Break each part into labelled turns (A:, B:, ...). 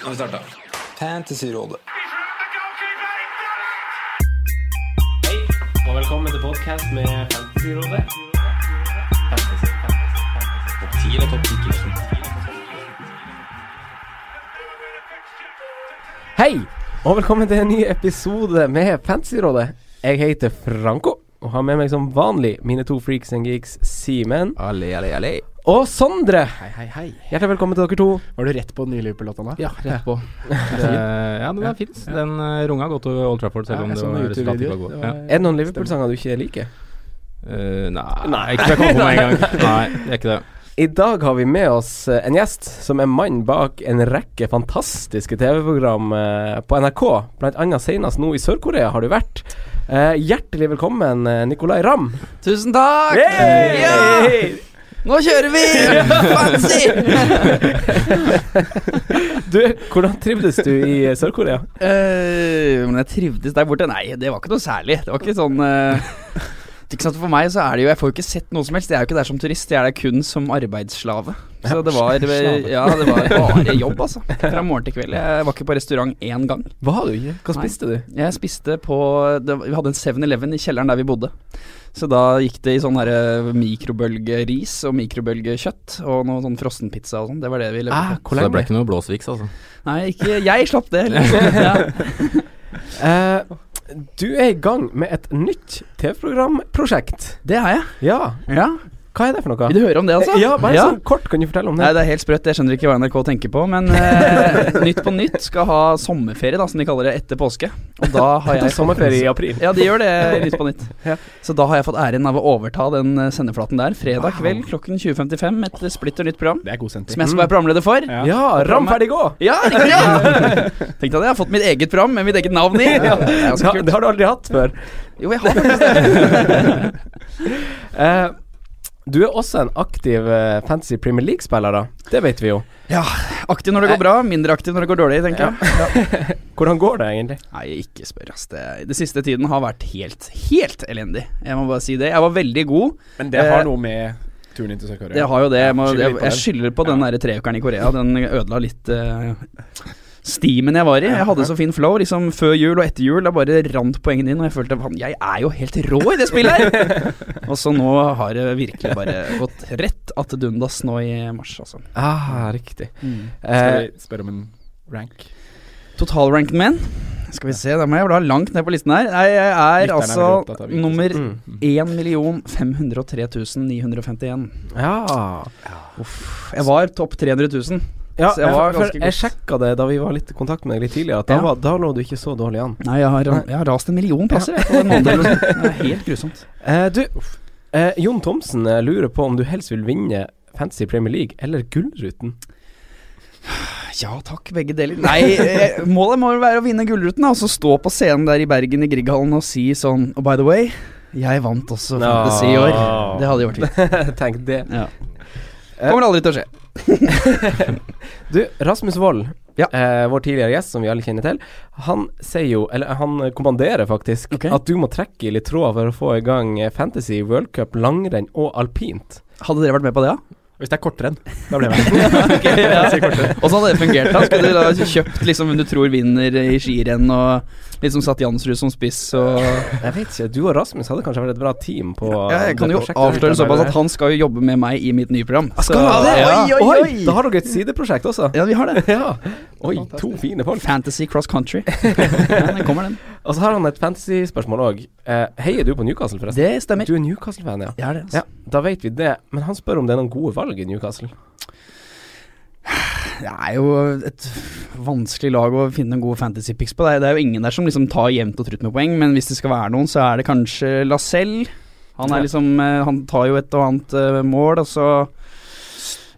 A: Nå har vi starta. Fantasyrådet.
B: Hei, og velkommen til podcast med Fantasyrådet. Hei, og velkommen til en ny episode med Fantasyrådet. Jeg heter Franco, og har med meg som vanlig mine to freaks and geeks, Simen
C: Alle, alle, alle.
B: og Sondre.
C: Hei, hei, hei.
B: Hjertelig velkommen til dere to.
C: Var du rett på den nye Liverpool-låta nå?
D: Ja, rett på. Det, ja, den er fin. Den eh, runga godt over Old Trafford, selv om det var resultatet var godt. Ja.
B: Er det noen Liverpool-sanger du ikke liker?
D: Eh, nei, ikke det jeg kommer på med en gang. Nei, det er ikke det.
B: I dag har vi med oss eh, en gjest som er mann bak en rekke fantastiske TV-program eh, på NRK, blant annet senest nå i Sør-Korea har du vært. Eh, hjertelig velkommen, eh, Nicolai Ramm.
E: Tusen takk!
B: Ja!
E: Nå kjører vi! Fancy!
B: Du, hvordan trivdes du i eh, Sør-Korea?
E: Eh, men jeg trivdes der borte. Nei, det var ikke noe særlig. Det var ikke sånn eh, ikke sant, For meg så er det jo Jeg får jo ikke sett noe som helst. Jeg er jo ikke der som turist, jeg er der kun som arbeidsslave. Så det var, eh, ja, det var bare jobb, altså. Fra morgen til kveld. Jeg var ikke på restaurant én gang.
B: Var du ikke? Hva
E: Nei.
B: spiste du?
E: Jeg spiste på det, var- Vi hadde en 7-Eleven i kjelleren der vi bodde. Så da gikk det i sånn her, eh, mikrobølgeris og mikrobølgekjøtt og noe sånn frossenpizza og sånn. Det var det vi levde på.
B: Ah, hvor
D: Så det ble
B: lenge?
D: ikke noe blåsviks, altså.
E: Nei, ikke Jeg slapp det. heller. Ja.
B: Eh, du er i gang med et nytt TV-programprosjekt.
E: Det har jeg.
B: Ja,
E: Ja.
B: hva er det for noe?
E: Vil du høre om det, altså?
B: Ja, bare sånn kort, kan du fortelle om
E: Nei,
B: det?
E: det er helt sprøtt. Jeg skjønner ikke hva NRK tenker på. Men eh, Nytt på Nytt skal ha sommerferie, da, som de kaller det, etter påske. Og da
B: Det
E: har
B: er
E: jeg
B: sommerferie i april.
E: Ja, de gjør det i Nytt på Nytt.
B: Ja.
E: Så da har jeg fått æren av å overta den eh, sendeflaten der fredag kveld klokken 20.55. Et splitter nytt program
C: Det er god senter.
E: som jeg skal være programleder for.
C: Ja.
B: Mm. Ja, Ramm ferdig gå!
E: Ja, riktig! Ja. Tenkte at jeg har fått mitt eget program med mitt eget navn i. Ja, det er ganske
B: Ja, det
E: kult.
B: har du aldri hatt før.
E: Jo, jeg har faktisk det.
B: Eh, du er også en aktiv eh, fantasy Premier League-spiller, da. Det vet vi jo.
E: Aktiv når det går bra, mindre aktiv når det går dårlig, tenker jeg.
B: Hvordan går det egentlig?
E: Nei, ikke spør, ass. Det, det siste tiden har vært helt, helt elendig. Jeg må bare si det. Jeg var veldig god.
C: Men det har
E: Eh,
C: noe med turen inn til Sør-Korea
E: Jeg har jo det. Jeg, må,
C: Skylder litt
E: jeg,
C: på
E: jeg
C: den.
E: skylder på den der treukeren i Korea. Den ødela litt eh, steamen jeg var i. Jeg hadde så fin flow liksom før jul og etter jul. Da bare rant poengene inn, og jeg følte faen, jeg er jo helt rå i det spillet her! og så nå har det virkelig bare gått rett att dundas nå i mars, altså.
B: Ah, riktig.
C: Mm. Skal
B: Eh,
C: vi spørre om en rank?
E: Totalranken min Skal vi se, da må jeg bla langt ned på listen her. Nei, jeg er
C: Lytterne er
E: altså
C: veldig opptatt av hvilken
E: nummer
B: mm.
E: 1 503 951.
B: Ja.
E: Jeg var topp 300 000.
B: ja
E: Så jeg var
B: for- for
E: ganske
B: jeg
E: godt.
B: sjekka det da vi var litt i kontakt med deg litt tidligere, at da,
E: Ja.
B: var, da lå du ikke så dårlig an.
E: Nei, jeg har, jeg har rast en million plasser jeg, på en måned. eller noe sånt. Det er helt grusomt.
B: Eh, du, eh, Jon Thomsen eh, lurer på om du helst vil vinne Fantasy Premier League eller Gullruten.
E: Ja takk, begge deler. Nei, eh, målet må vel være å vinne Gullruten, da, og så stå på scenen der i Bergen i Grieghallen og si sånn Og by the way, jeg vant også Fantasy i år.
B: Nå.
E: Det hadde gjort fint.
B: Tenk det.
E: Ja. Kommer aldri til å skje.
B: Du, Rasmus Wold,
E: Ja.
B: eh, vår tidligere gjest som vi alle kjenner til, han sier jo, eller han kommanderer faktisk,
E: Ok.
B: at du må trekke i litt tråder for å få i gang eh, fantasy, World Cup, langrenn og alpint.
E: Hadde dere vært med på det, da?
C: Hvis det er kortrenn, da blir jeg med.
E: Ok, ja. Og så hadde det fungert da Skulle du da kjøpt liksom hvem du tror vinner i skirenn Og liksom satt Jansrud som spiss og
B: Jeg vet ikke, du og Rasmus hadde kanskje vært et bra team på
E: Jeg kan
B: det
E: jo
B: prosjektet.
E: avsløre såpass at han skal jo jobbe med meg i mitt nye program
B: Skal du ha det?
E: Ja,
B: Oi, Da har dere et sideprosjekt også.
E: ja vi har det
B: Ja. Oi, to fine folk.
E: Fantasy cross country ja, Den kommer den
B: Og så har han et fantasy-spørsmål òg. Eh, heier du på Newcastle, forresten?
E: Det stemmer
B: Du er Newcastle-fan, ja.
E: Jeg er det altså.
B: Ja, Da vet vi det. Men han spør om det er noen gode valg i Newcastle.
E: Det er jo et vanskelig lag å finne gode fantasy picks på. Det er, det er jo ingen der som liksom tar jevnt og trutt med poeng, men hvis det skal være noen, så er det kanskje Lacelle. Han, er
B: Ja.
E: liksom, eh, han tar jo et og annet eh, mål, og så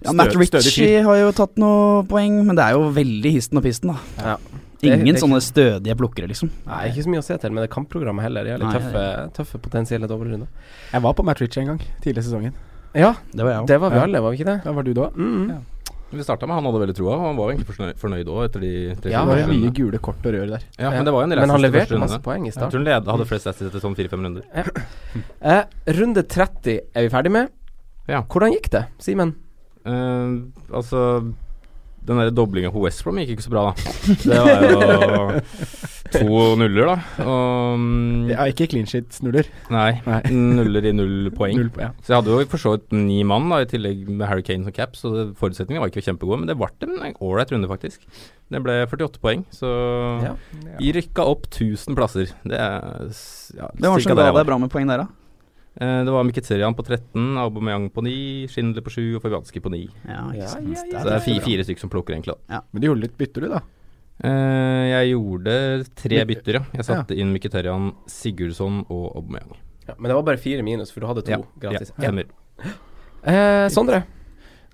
E: ja, Matt
C: Stø- stødig
E: Ritchie har jo tatt noen poeng, men det er jo veldig histen og pisten, da.
B: Ja. Det-
E: Ingen
B: det er
E: sånne stødige plukkere, liksom.
B: Nei, ikke så mye å se til med det kampprogrammet heller. De har litt
E: Nei,
B: tøffe, tøffe potensielle dobbeltrunder.
C: Jeg var på Matt Ritchie en gang, tidligere i sesongen.
B: Ja,
E: Det var jeg òg.
B: det var vi
C: Ja.
B: alle, var vi ikke det?
C: Da var du da.
B: Mm.
C: Ja.
D: Vi starta med han hadde veldig troa, og han var jo egentlig fornøyd- fornøyd òg etter de tre
C: det
B: Ja,
D: fire
C: var jo
D: rundene.
C: mye gule kort og rør der.
D: Ja, men det var jo en del
B: Men han
D: assist i første
B: leverte
D: runde.
B: masse poeng i
D: Jeg
B: start.
D: tror han led, hadde flest assist etter sånn fire-fem runder.
B: Eh, runde 30 er vi ferdig med.
D: Ja.
B: Hvordan gikk det, Simen?
D: Eh, altså den der doblinga på West Brom gikk ikke så bra, da. Det var jo to nuller, da. Og mm,
C: Ja, ikke clean shit-snuller.
D: Nei,
C: Nei.
D: nuller i null poeng.
C: Null på, ja.
D: Så jeg hadde jo for så vidt ni mann, da, i tillegg med Harry Kane som cap, så det- forutsetningene var ikke kjempegode, men det ble en ålreit runde, faktisk. Det ble 48 poeng, så
B: Ja.
D: vi rykka opp 1000 plasser. Det er s- ja,
E: Hvem var sånn det
D: cirka
E: som
D: der
E: ga
D: jeg var.
E: deg bra med poeng der, da?
D: Eh, Det var Mkhitaryan på 13, Aubameyang på 9, Schindler på 7 og Fabianski på 9.
E: Ja,
B: Ja,
E: ikke sant.
B: ja, ja.
D: Så det er fire, fire stykker som plukker, egentlig. da.
C: Men du gjorde litt bytter, du, da.
D: Eh, jeg gjorde tre
C: Bytte.
D: bytter, ja. Jeg satte inn Mkhitaryan, Sigurdsson og Aubameyang.
B: Ja, men det var bare fire minus, for du hadde to
D: Ja,
B: gratis.
D: Ja, stemmer.
B: Eh, Sondre.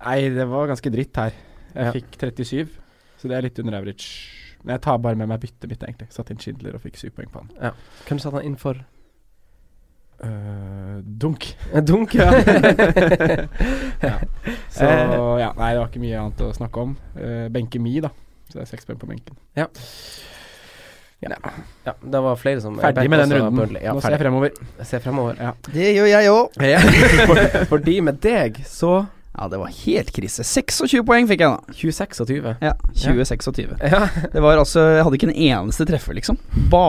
C: Nei, det var ganske dritt her. Jeg
B: Ja.
C: fikk 37, så det er litt under average. Men jeg tar bare med meg byttet mitt, egentlig. Satt inn Schindler og fikk syv poeng på han.
B: Hvem satte han inn for?
C: Øh, dunk.
B: Eh, Dunk, ja.
C: Så
B: Eh.
C: ja, nei, det var ikke mye annet å snakke om. Eh, benke mi, da. Så det er seks poeng på benken.
B: ja. Det var flere som
C: Ferdig med den
B: Også
C: runden.
B: Burnley. Ja,
C: Nå ser jeg
B: ferdig.
C: fremover.
B: Jeg ser fremover.
E: Det gjør jeg òg.
B: For- Fordi med deg så
E: Ja, det var helt krise. 26 poeng fikk jeg, da.
B: 26 og 20.
E: Ja, 20-26.
B: Ja.
E: Det var altså Jeg hadde ikke en eneste treffer, liksom.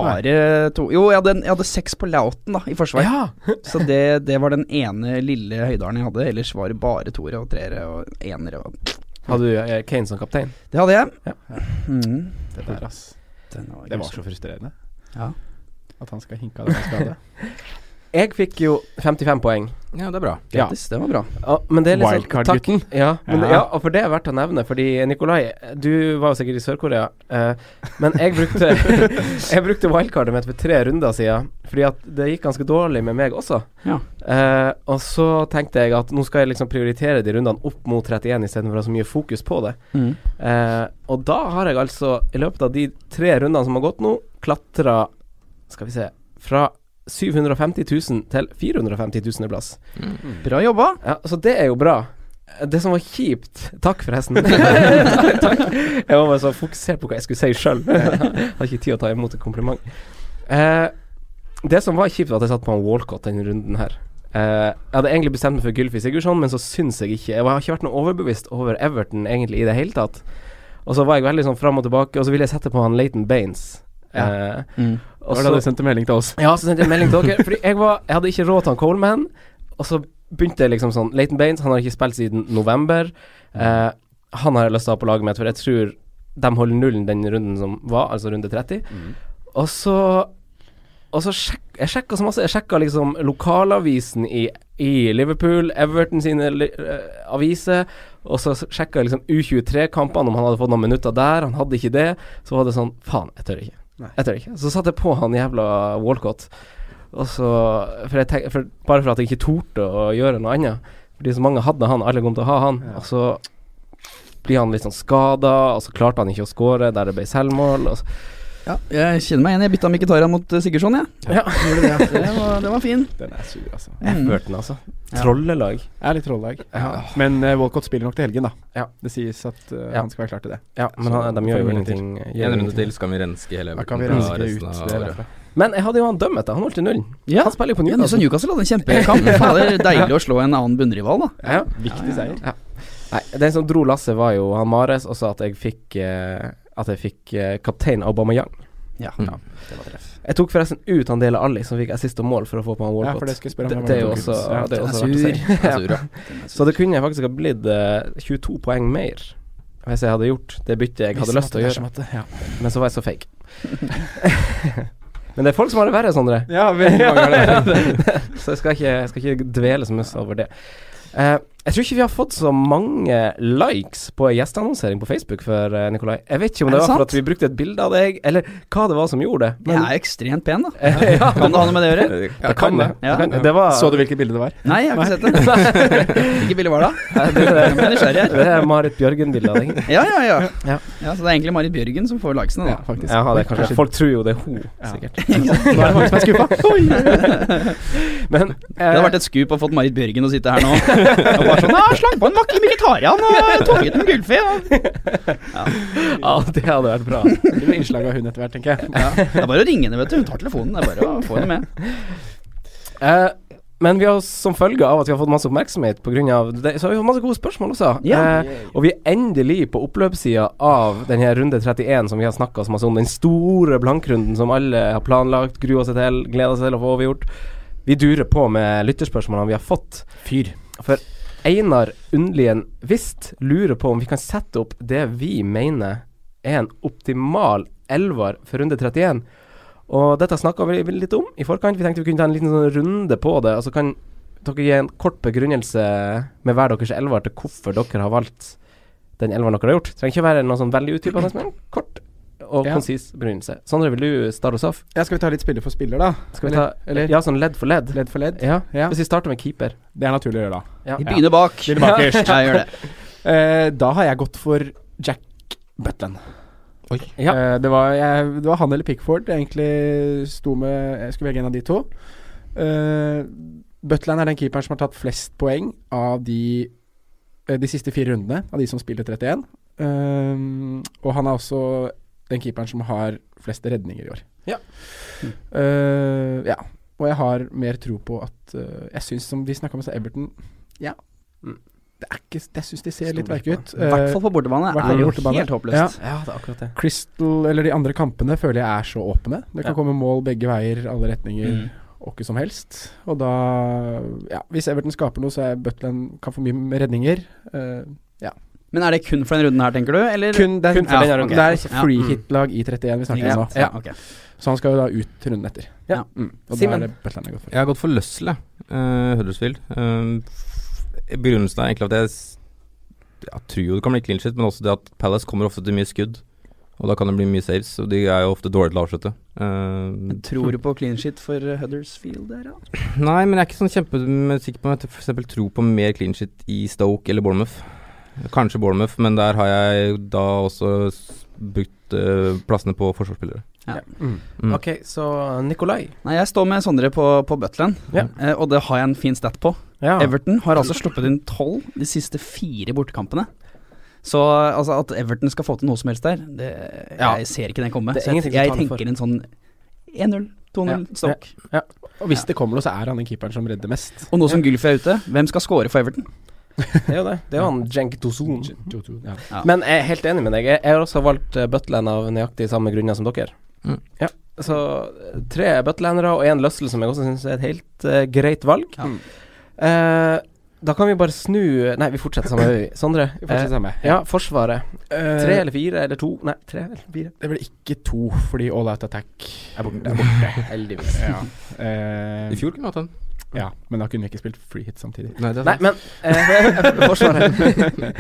E: Bare to Jo, jeg hadde, jeg hadde seks på lauten, da, i forsvar.
B: ja.
E: Så det, det var den ene lille høydalen jeg hadde. Ellers var det bare toere og treere og enere og
B: Hadde du eh, Kane som kaptein?
E: Det hadde jeg.
B: Ja.
E: Mhm.
C: Det der, ass.
E: Den var
C: Det var
E: grusom.
C: så frustrerende.
E: Ja.
C: At han skal hinke av den skade.
B: Jeg fikk jo 55 poeng.
D: Ja, det er bra.
B: Ja.
E: Grattis, det var bra.
B: Ja, men det er liksom
C: Wildcard-gutten.
B: Ja, men,
C: Ja.
B: ja. og for det er verdt å nevne, fordi eh, Nikolai, du var jo sikkert i Sør-Korea, eh, men jeg brukte Jeg brukte wildcardet mitt for tre runder siden, fordi at det gikk ganske dårlig med meg også.
E: Ja.
B: Eh, og så tenkte jeg at nå skal jeg liksom prioritere de rundene opp mot 31 istedenfor å ha så mye fokus på det. Eh, og da har jeg altså, i løpet av de tre rundene som har gått nå, klatra Skal vi se Fra 750 000 til 450 000 i plass.
E: Bra jobba.
B: Ja, så det er jo bra. Det som var kjipt Takk, forresten. takk, takk. Jeg var bare så fokusert på hva jeg skulle si sjøl. Har ikke tid å ta imot et kompliment. Eh, det som var kjipt, var at jeg satt på en Walcott denne runden her. Eh, jeg hadde egentlig bestemt meg for Gylfi Sigurdsson, men så syns jeg ikke Jeg har ikke vært noe overbevist over Everton egentlig i det hele tatt. Og så var jeg veldig sånn fram og tilbake, og så ville jeg sette på han Leighton Baines. Eh, og
C: Det var da du sendte melding til oss.
B: ja, så sendte jeg en melding til dere. Fordi jeg, var, jeg hadde ikke råd til han Coleman. Og så begynte jeg liksom sånn Leighton Baines, han har ikke spilt siden november. Eh, han har jeg lyst til å ha på laget mitt, for jeg tror de holder nullen den runden som var, altså runde 30. Og så og så sjek, Jeg sjekka så masse. Jeg sjekka liksom lokalavisen i, i Liverpool, Everton sine li- eh, aviser. Og så sjekka jeg liksom U23-kampene, om han hadde fått noen minutter der. Han hadde ikke det. Så var det sånn Faen, jeg tør ikke. Jeg tør ikke. Så satte jeg på han jævla Walcott. Og så for jeg tenk, for, Bare for at jeg ikke torde å gjøre noe annet. Fordi så mange hadde han, alle kom til å ha han. Og så blir han litt sånn skada, og så klarte han ikke å score der det ble selvmål. Og så,
E: Ja, jeg kjenner meg igjen. Jeg bytta Mkhitarian mot eh, Sigurdsson, jeg.
B: Ja.
E: Ja. Det, var, det var fin.
C: Den er sur, altså.
E: Mm.
B: Everton, altså.
E: Ja.
B: Trollelag.
C: Jeg er litt trolldag.
B: Ja.
C: Men eh, Walcott spiller nok til helgen, da.
B: Ja.
C: Det sies at eh,
B: Ja.
C: han skal være klar til det.
B: Ja, men
C: Så
B: han, de
C: får
B: gjør
C: vi
B: jo
C: runde
B: ingenting. gjør
D: En runde
B: ingenting.
D: til, så kan vi renske hele
C: Da kan vi
D: Everton fra
C: renske det ut.
D: resten av
C: Det er
D: året.
C: derfor.
B: Men jeg hadde jo han dømmet, da. Han holdt til nullen.
E: Ja.
B: Han spiller jo på
E: Ja, sånn Newcastle
B: Newcastle.
E: Newcastle hadde en kjempekamp. Fader, deilig å slå en annen bunnrival, da.
B: Ja.
C: Viktig seier.
B: Nei, den som dro lasset, var jo han Mares, og sa at jeg fikk eh, At jeg fikk eh, kaptein Aubameyang.
E: Ja,
D: Mm.
E: det var treff.
B: Jeg tok forresten ut han Dele Alli, som fikk assist og mål for å få på han
C: Ja,
B: Walcott.
C: for det skal jeg spørre om.
B: Det-
C: hvem
B: det er jo
C: han tok ut.
B: også-
C: Ja.
B: det er
E: Den er
B: også verdt å si.
E: sur. Den er sur, ja.
B: Så det kunne jeg faktisk ha blitt eh, 22 poeng mer hvis jeg hadde gjort det byttet jeg hadde
C: Visste
B: lyst til
C: at
B: å gjøre,
C: det er som at det-
B: men så var jeg så fake. men det er folk som har det verre, Sondre.
C: Ja, ja veldig mange har det.
B: Så jeg skal ikke, jeg skal ikke dvele så mye over det. Eh, jeg tror ikke vi har fått så mange likes på gjesteannonsering på Facebook for eh, Nikolai. Jeg vet ikke om
E: Er
B: det,
E: det
B: var for
E: sant?
B: at vi brukte et bilde av deg, eller hva det var som gjorde det.
E: Jeg er ekstremt pen, da.
B: ja,
E: Kan det ha noe med det å gjøre?
B: det kan det.
E: Ja.
B: Det kan- Det var
C: Så du hvilket bilde det var?
E: Nei, jeg har ikke sett det. Hvilket bilde var det?
B: Nei, det,
E: Jeg ble
B: det,
E: nysgjerrig her.
B: det er Marit Bjørgen-bildet av deg.
E: Ja, ja, ja.
B: Ja.
E: Ja, Så det er egentlig Marit Bjørgen som får likesene, da.
C: faktisk.
B: Ja, det er kanskje Folk tror jo det er hun,
C: Ja.
B: sikkert.
C: Nå er det mange som er skuffa.
B: Men
E: Det
B: eh,
E: hadde vært et skup å fått Marit Bjørgen å sitte her nå. Og bare sånn, «Ja, Slang på en vakre Mkhitarian og toget med Gylfi. og-»
B: eh, ja, det hadde vært bra.
C: Det blir innslag av hun etter hvert, tenker jeg.
E: Ja. Det er bare å ringe henne, vet du. Hun tar telefonen. Det er bare å få henne med.
B: Eh, Men vi har som følge av at vi har fått masse oppmerksomhet pga. det, så har vi fått masse gode spørsmål også.
E: Ja.
B: Eh, og vi er endelig på oppløpssida av denne runde 31 som vi har snakka så masse om. Den store blankrunden som alle har planlagt, grua seg til, gleda seg til å få overgjort. Vi durer på med lytterspørsmålene vi har fått.
C: Fyr.
B: For Einar Undlien Vist lurer på om vi kan sette opp det vi mener er en optimal elver for runde 31. Og dette snakka vi litt om i forkant. Vi tenkte vi kunne ta en liten sånn runde på det. Og så kan dere gi en kort begrunnelse med hver deres elver til hvorfor dere har valgt den elveren dere har gjort. Trenger ikke være noe sånn veldig utdypende, men en kort og
C: Ja.
B: konsis begrunnelse. Sondre, vil du starte oss off?
C: Ja, skal vi ta litt spiller for spiller, da?
B: Skal vi ta
C: eller-
B: Ja, sånn ledd for ledd.
C: Ledd for ledd?
B: Ja.
C: Ja.
B: Hvis vi starter med keeper.
C: Det er naturlig å gjøre da.
B: Ja.
E: Vi begynner bak.
C: Begynner bakerst.
E: Ja, jeg gjør det.
C: Eh, da har jeg gått for Jack Butland.
D: Oi.
B: Ja.
C: Eh, det, var, jeg, det var han eller Pickford jeg egentlig sto med Jeg skulle velge en av de to. Eh, Butland er den keeperen som har tatt flest poeng av de, eh, de siste fire rundene, av de som spiller 31. Eh, og han er også den keeperen som har flest redninger i år.
B: Ja.
C: Eh, ja. Og jeg har mer tro på at eh, Jeg syns, som vi snakka om, så Everton Ja.
B: Mm.
C: Det er ikke, jeg syns de ser
B: Stoler
C: litt verke
B: ikke
C: ut. Eh,
E: I hvert fall på bortebane
C: hvert fall
E: er
C: på
E: jo
C: bortebane.
E: helt
C: Ja.
E: håpløst.
B: ja, det er akkurat det.
C: Crystal, eller de andre kampene, føler jeg er så åpne. Det kan
B: Ja.
C: komme mål begge veier, alle retninger,
E: Mm.
C: og ikke som helst. Og da Ja, hvis Everton skaper noe, så er Butland kan få mye med redninger. Eh,
E: Men er det kun for denne runden her, tenker du? Eller?
C: kun, det er,
E: Kun for
C: ja,
E: denne runden.
C: det er
E: Ja.
C: free hit-lag i 31 vi snakker
E: ja,
C: om nå.
E: ja, ok.
C: Så han skal jo da ut runden etter.
E: Ja.
C: Mm. Og
B: Simen.
C: da er det Butland jeg går for.
D: Jeg har gått for Løsle, eh, Huddersfield. Eh, f- begrunnelsen er egentlig at jeg, s- ja, tror jo det kan bli clean shit, men også det at Palace kommer ofte til mye skudd. Og da kan det bli mye saves, og de er jo ofte dårlige til å avslutte. Eh,
E: Tror du på clean shit for eh, Huddersfield der, ja?
D: nei, men jeg er ikke sånn kjempesikker på om jeg f.eks. tror på mer clean shit i Stoke eller Bournemouth. Kanskje Bournemouth, men der har jeg da også s- brukt eh, plassene på forsvarsspillere.
C: Mm.
D: Mm.
B: Ok, så Nikolai.
E: Nei, jeg står med Sondre på, på Butland,
B: Ja. Ah.
E: eh, og det har jeg en fin stat på.
B: Ja.
E: Everton har altså sluppet inn tolv de siste fire bortekampene. Så altså, at Everton skal få til noe som helst der, det,
B: Ja.
E: jeg ser ikke den komme.
B: Det er
E: Så jeg,
B: ingenting som
E: jeg
B: taler for.
E: tenker en sånn 1-0, 2-0,
B: Ja.
E: Stoke.
C: Og hvis det kommer noe, så er han den keeperen som redder mest.
E: Og nå som Gylfi er ute, hvem skal score for Everton?
B: Det er jo det. Det er jo han Jenk Tozun.
C: Jo, jo, ja.
E: Ja.
B: Men jeg er helt enig med deg. Jeg jeg har også valgt eh, Butland av nøyaktig samme grunner som dere.
D: Mm.
B: Ja. Så eh, tre Butlandere og én Løssel, som jeg også syns er et helt eh, greit valg.
E: Ja. Mm.
B: Eh, da kan vi bare snu Nei, vi fortsetter sammen. vi. Sondre.
C: Vi fortsetter
B: eh,
C: samme.
B: ja, Forsvaret.
C: Eh,
B: Tre eller fire eller to? Nei, tre eller fire.
C: Det blir ikke to, fordi All Out Attack er borte.
B: Heldigvis.
C: Ja. Eh,
D: I fjor kunne vi hatt en.
C: Ja, men da kunne vi ikke spilt free hit samtidig.
D: Nei, det er
B: Nei, men eh, Forsvaret.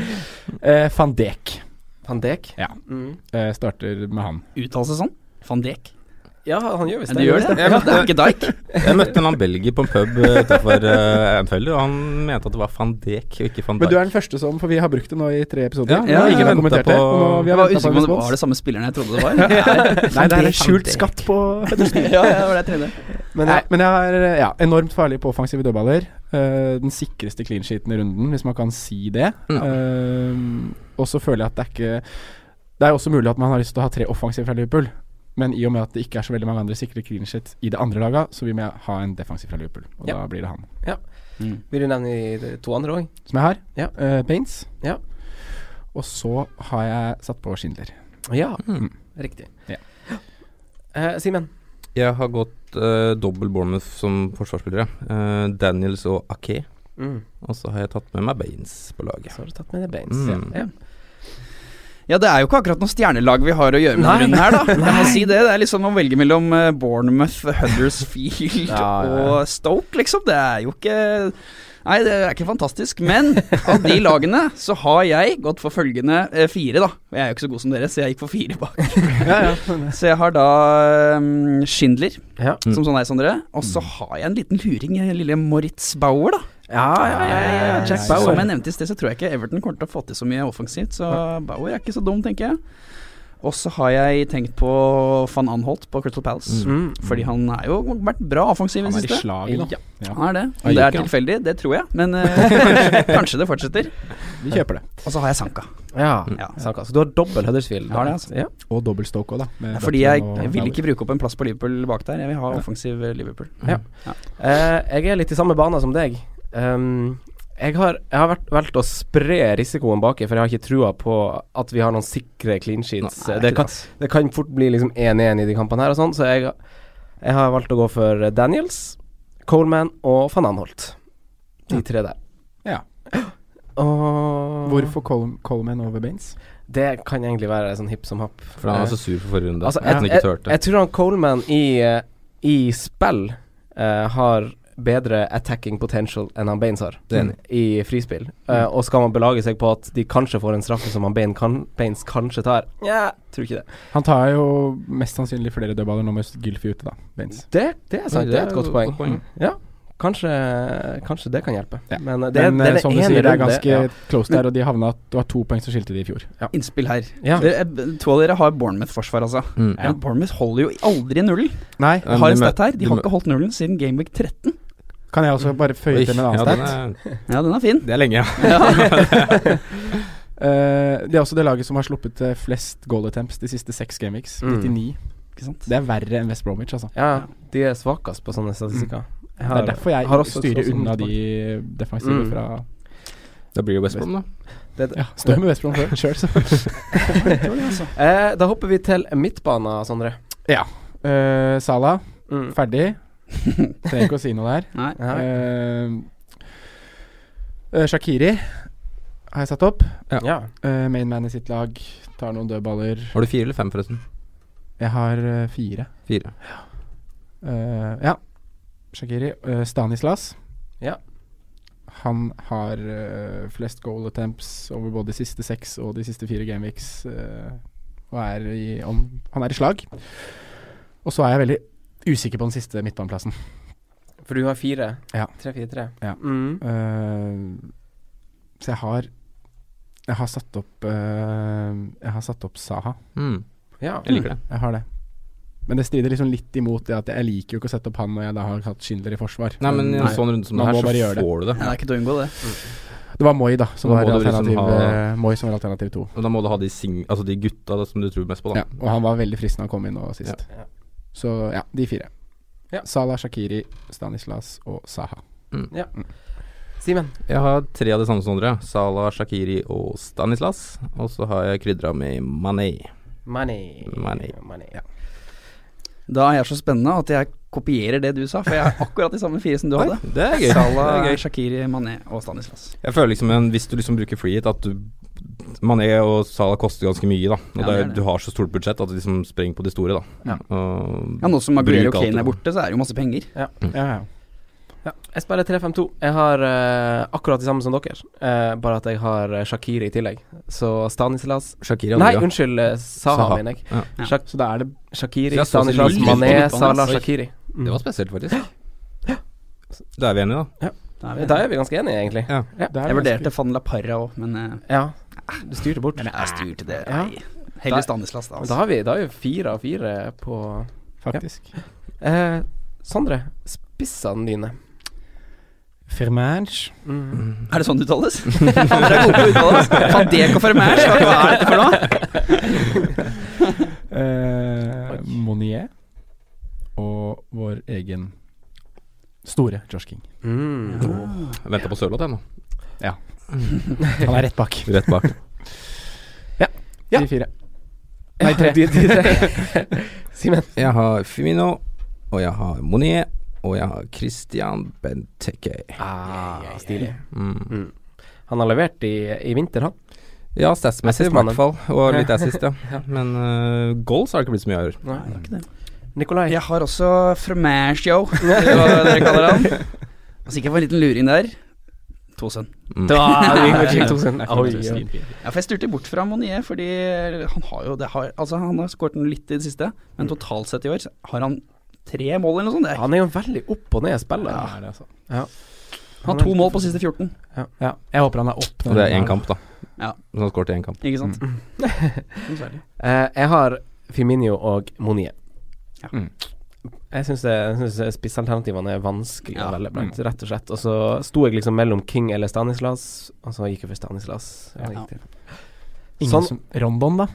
C: Eh, Van Dijk
B: Van Dijk.
C: Ja.
B: Mm.
C: eh, starter med han.
E: Uttale seg sånn? Van Dijk?
B: ja, han gjør visst
E: Men det gjør det. Ja, det er ikke Dijk.
D: Jeg møtte en eller annen belgier på en pub utafor uh, Anfield, og han mente at det var van Dijk og ikke van
C: Men
D: Dijk.
C: du er den første som For vi har brukt det nå i tre episoder.
D: Ja,
C: Nå
E: ja,
C: har ingen
E: jeg
C: har kommentert
D: ventet
C: det.
D: på-
C: Og nå, vi
E: Jeg
C: har
E: var
C: ventet på
E: usikker på om det var
C: respons.
E: det samme spilleren jeg trodde det var.
C: Nei, det er en
B: Van
C: skjult
B: Dijk.
C: skatt på
E: ja, ja, det var det jeg trodde.
C: Men jeg, men jeg er eh, ja, enormt farlig på offensive dødballer. Eh, den sikreste clean sheeten i runden, hvis man kan si det.
D: Ja.
C: Eh, og så føler jeg at det er ikke Det er også mulig at man har lyst til å ha tre offensive fra Liverpool. Men i og med at det ikke er så veldig mange andre sikre clean sheet i det andre laget, så vil vi ha en defensiv fra Liverpool. Og
B: Ja.
C: da blir det han.
B: Vil du nevne de to andre òg?
C: Som jeg har.
B: Ja.
C: Eh, Baines.
B: Ja.
C: Og så har jeg satt på Schindler.
B: Ja,
D: Mm.
B: riktig.
C: Ja.
B: Eh, Simen.
D: Jeg har gått uh, dobbel Bournemouth som forsvarsspillere. Eh, Daniels og Ake. Og så har jeg tatt med meg Baines på laget.
B: Så har du tatt med deg Baines.
D: Mm.
B: Ja.
E: Ja, det er jo ikke akkurat noe stjernelag vi har å gjøre med
B: Nei.
E: denne runden her, da. Jeg må si det. Det er liksom å velge mellom eh, Bournemouth, Huddersfield
B: Ja, ja, ja.
E: og Stoke, liksom. Det er jo ikke Nei, det er ikke fantastisk. Men av de lagene så har jeg gått for følgende eh, fire, da. Jeg er jo ikke så god som dere, så jeg gikk for fire bak. Så jeg har da mm, Schindler,
B: Ja.
D: Mm.
E: som sånn er, Sondre. Og
B: Mm.
E: så har jeg en liten luring, eh, lille Moritz Bauer, da.
B: Ja, ja, ja, ja, ja,
C: Ja,
B: Jack
C: ja, ja.
B: Bauer.
E: Som jeg nevnte i sted, så tror jeg ikke Everton kommer til å få til så mye offensivt, så Bauer er ikke så dum, tenker jeg. Og så har jeg tenkt på van Anholt på Crystal Palace.
D: Mm.
E: Fordi han er jo vært bra offensiv i
C: Han
E: det
C: er i
E: siste.
C: slaget nå. Ja.
E: Han er det.
D: Ja,
E: Om det er
D: ikke, ja.
E: tilfeldig, det tror jeg, men eh, kanskje det fortsetter.
C: Vi kjøper det.
E: Og så har jeg Sanka.
B: Ja,
E: Ja.
B: Mm. Sanka. Så du har dobbel Huddersfield?
E: Jeg Mm. har det, altså.
B: Ja.
C: Og dobbel Stoke òg, da. med Bertrand
E: Fordi jeg,
C: og
E: jeg
C: Fowler.
E: vil ikke bruke opp en plass på Liverpool bak der. Jeg vil ha offensiv Liverpool.
B: Eh, jeg er litt i samme bane som deg. Ehm, jeg har, jeg har vært, valgt å spre risikoen baki, for jeg har ikke trua på at vi har noen sikre clean sheets.
E: Nei,
B: det,
E: ikke
B: kan,
E: sant.
B: det kan fort bli liksom 1-1 i de kampene her og sånn, så jeg, jeg har valgt å gå for Daniels, Coleman og van Anholt. De tre der.
C: Ja.
B: Og
C: Hvorfor Col Coleman over Baines?
B: Det kan egentlig være sånn hipp som happ.
D: For han var så sur for forrige runde.
B: Altså,
D: at han
B: jeg,
D: ikke
B: jeg,
D: turte.
B: jeg tror han Coleman i, eh, i spill eh, har bedre attacking potential enn han Baines har
D: Det er enig.
B: i frispill. Eh,
C: Mm.
B: og skal man belage seg på at de kanskje får en straffe som han Baines, kan, Baines kanskje tar Nja, tror ikke det.
C: Han tar jo mest sannsynlig flere dødballer nå med Gylfi ute, da. Baines.
B: Det, det er sant, det er et
D: jo
B: godt poeng. Ja, kanskje, kanskje det kan hjelpe.
C: Ja.
B: Men eh, det,
C: Men
B: det
C: eh,
B: er den
C: som du
B: ene
C: sier, det er
B: runde-
C: ganske
B: ja.
C: close der, og de havna Det var to poeng som skilte de i fjor.
E: Innspill her.
B: Ja.
E: Dere- To av dere har Bournemouth-forsvar, altså.
D: Mm.
E: Men Bournemouth holder jo aldri nullen.
C: Nei.
E: Jeg har
D: de
E: en
D: mø-
E: stat her.
D: de
E: De har
D: mø-
E: ikke holdt nullen siden Gameweek 13.
C: Kan jeg også bare føye
D: Oi,
C: til med en
D: ja,
C: annen
D: den
C: stat?
D: er-
E: Ja, den er fin.
D: Det er lenge, ja.
C: Eh, det er også det laget som har sluppet eh, flest goal attempts de siste seks gameweeks.
B: Mm.
C: 99.
E: Ikke sant?
C: Det er verre enn West Bromwich, altså.
B: ja, de er svakest på sånne statistikker. Jeg
C: Mm. det er derfor jeg
B: har også-
C: styrer
B: også-
C: unna de defensive
B: Mm.
C: fra
D: Da blir det West Brom, da.
B: det,
C: Ja, står med West Brom før, sjøl, så.
E: altså.
B: eh, Da hopper vi til midtbanen, Sondre.
C: Eh, Salah,
B: Mm.
C: ferdig. Trenger ikke å si noe der.
E: Nei.
B: Ja.
C: Eh, eh, Shakiri har jeg satt opp.
B: Ja.
C: Eh, main man i sitt lag. Tar noen dødballer.
D: Har du fire eller fem, forresten?
C: Jeg har eh, fire.
D: Fire.
C: Eh, ja. Shakiri. Eh, Stanislas.
B: Ja.
C: Han har eh, flest goal attempts over både de siste seks og de siste fire gameweeks. eh, og er i, om, han er i slag. Og så er jeg veldig usikker på den siste midtbaneplassen.
B: For du har fire?
C: Ja.
B: Tre, fire, tre?
C: Ja.
B: Mm.
C: Eh, så jeg har Jeg har satt opp eh, Jeg har satt opp Saha.
D: Mm.
B: ja.
D: Jeg liker det.
C: Jeg har det. Men det strider liksom litt imot det at jeg liker jo ikke å sette opp han når jeg da har hatt Schindler i forsvar.
D: Nei, men i en
E: Nei.
D: sånn runde som det
C: Man
D: her,
C: må
D: så
C: bare gjøre det.
D: får du det.
E: Det er ikke til å unngå, det.
C: Det var Moi, da, som
D: Da
C: var
D: må du liksom
C: alternativ
D: ha-
C: eh, Moi som var alternativ to.
D: Og da må du ha de, sing altså de gutta da, som du tror mest på, da.
C: Ja, og han var veldig fristende å komme inn nå sist.
B: Ja.
C: Så ja, de fire.
B: Ja.
C: Salah, Shakiri, Stanislas og Saha.
B: Simen.
D: Jeg har tre av de samme som andre. Salah, Shakiri og Stanislas. Og så har jeg krydra med Mané.
B: Money.
D: Money.
B: Ja.
E: Da er jeg så spennende at jeg kopierer det du sa, for jeg er akkurat de samme fire som du hadde.
D: Det er gøy.
E: Salah,
D: Det er gøy.
E: Shakiri, Mané og Stanislas.
D: Jeg føler liksom en, Hvis du liksom bruker freehit, at du Mané og Salah koster ganske mye, da. Og det er,
E: Ja, det er det.
D: du har så stort budsjett at du liksom sprenger på de store, da. Og-
E: Ja, Nå som
D: Bruk
E: Maguire og
D: alt
E: Kane
D: det.
E: er borte, så er det jo masse penger.
C: Ja, ja.
B: Jeg spiller 3-5-2. Jeg har eh, akkurat det samme som dere, eh, bare at jeg har eh, Shakiri i tillegg. Så Stanislas
D: Shakiri
B: Nei, unnskyld, eh, Saha,
D: Saha.
B: mener jeg.
D: Ja.
E: Ja.
B: Shak
C: Så da er det
B: Shakiri,
D: Så jeg så
B: Stanislas,
D: så lite på
B: Mané,
D: midtbanen,
B: Salah,
D: altså.
B: Shakiri.
D: Det var spesielt, faktisk. Da er vi enige, da.
E: Da
B: Da er vi ganske enige, egentlig.
D: Ja.
C: det er
E: Jeg
C: ganske-
E: vurderte Van La Parra òg, men eh,
B: Ja. Du styrte bort.
E: Men jeg styrte det.
B: Ja.
E: Nei. Heller Stanislas, da.
B: Men Da
E: Altså.
B: har vi, da har vi fire av fire på
C: Faktisk.
B: eh, Sondre, spissene dine.
C: Firmange.
B: Mm.
E: Er det sånn det uttales? Dere er gode på å uttale oss. Van Dijk og Fermage, hva hva er dette for noe?
C: Eh, Monier. Og vår egen store Josh King.
B: Mm.
D: Jeg venter på Sørloth, jeg nå.
C: Han er rett bak.
D: Rett bak.
B: Ja.
C: De fire.
B: Nei, tre. de, de tre. Simen.
D: Jeg har Fimino, og jeg har Monier, og jeg har Christian Benteke.
B: Ah, stilig.
D: Mm.
B: Han har levert i, i vinter, han.
D: Ja, statsmessig i
B: Assistmannen.
D: hvert fall, og litt assist, ja. Men uh, goals har det ikke blitt så mye av. i år.
E: Nei, det er ikke det.
B: Nikolai.
E: Jeg har også Fermage, yo. Eller hva dere kaller han. Altså ikke for en liten luring der. Tosen.
D: Mm.
B: Da er vi på Chick Thomsen.
C: Det er
B: Oi,
C: faktisk
B: oi.
C: fint, fint.
E: Ja, for jeg styrte bort fra Monier, fordi han har jo det har, Altså, han har skåret litt i det siste, men totalt sett i år så har han tre mål eller noe sånt. Det er,
B: Han er jo veldig opp og ned i
C: Ja,
B: spillet.
C: det er det, altså.
E: han har to mål på siste 14.
C: Ja. Jeg håper han er opp. når
D: Og det
C: han
D: er én kamp, da.
E: Ja.
D: Så han skåret i én kamp.
E: Ikke sant? mm.
B: Eh, jeg har Firminio og Monie.
E: Ja.
D: Mm.
B: Jeg syns det- jeg syns spissalternativene er vanskelig
E: Ja.
B: å velge blant,
D: Mm.
B: rett og slett. Og så sto jeg liksom mellom King eller Stanislas, og så gikk jeg for Stanislas. Ja,
E: Ja.
B: gikk til.
C: Ingen
B: Sånn.
C: som Rondon, da.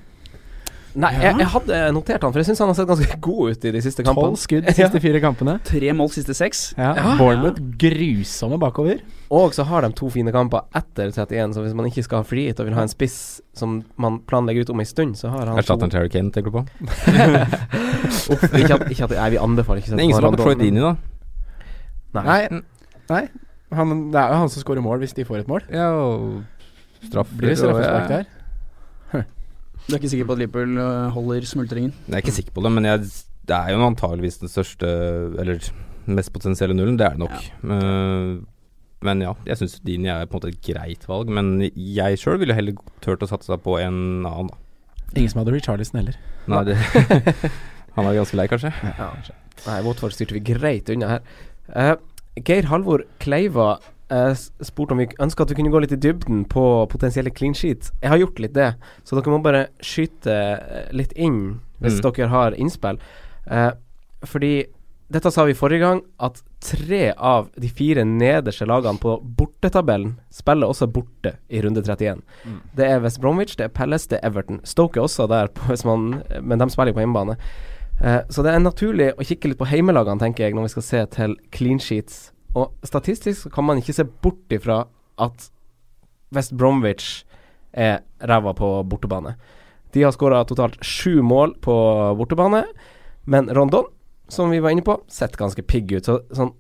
B: Nei,
E: Ja.
B: jeg, jeg hadde notert han, for jeg syns han har sett ganske god ut i de siste
C: Tolv
B: kampene.
C: skudd de siste fire kampene.
E: Tre mål siste seks.
C: Ja.
B: Ja.
C: Bournemouth grusomme bakover.
B: Og så har de to fine kamper etter 31, så hvis man ikke skal ha frigitt og vil ha en spiss som man planlegger ut om ei stund, så har han
D: Erstatteren til Harry Kane, tenker du på?
B: Uff, ikke at, ikke at Nei, vi anbefaler ikke å
D: Det
B: sette
D: er ingen
B: på
D: som har på
B: Rondon,
D: Floyd Dini, da.
B: men- Nei.
C: Nei, nei. Han, det er jo han som scorer mål hvis de får et mål.
D: Ja, og straffer
C: Blir det
D: og-
C: straffespark der?
E: Du er ikke sikker på at Liverpool øh, holder smultringen?
D: Jeg er ikke sikker på det, men jeg, det er jo antageligvis den største Eller mest potensielle nullen, det er det nok. Eh, men ja, jeg syns Dini er på en måte et greit valg. Men jeg sjøl ville heller turt å satse på en annen, da.
C: Ingen som hadde Richarlison heller.
D: Nei, det, han er ganske lei, kanskje.
B: Nei, Watford styrte vi greit unna her. Eh, Geir Halvor Kleiva eh, s- spurte om vi ønska at vi kunne gå litt i dybden på potensielle clean sheets. Jeg har gjort litt det, så dere må bare skyte eh, litt inn hvis
D: Mm.
B: dere har innspill. Eh, fordi dette sa vi forrige gang, at tre av de fire nederste lagene på bortetabellen spiller også borte i runde 31. Det er West Bromwich, det er Palace, det er Everton. Stoke er også der, på, hvis man, men de spiller jo på hjemmebane. Eh, Så det er naturlig å kikke litt på heimelagene, tenker jeg, når vi skal se til clean sheets. Og statistisk så kan man ikke se bort ifra at West Bromwich er ræva på bortebane. De har skåra totalt sju mål på bortebane, men Rondon, som vi var inne på, sett ganske pigg ut. Så, sånn,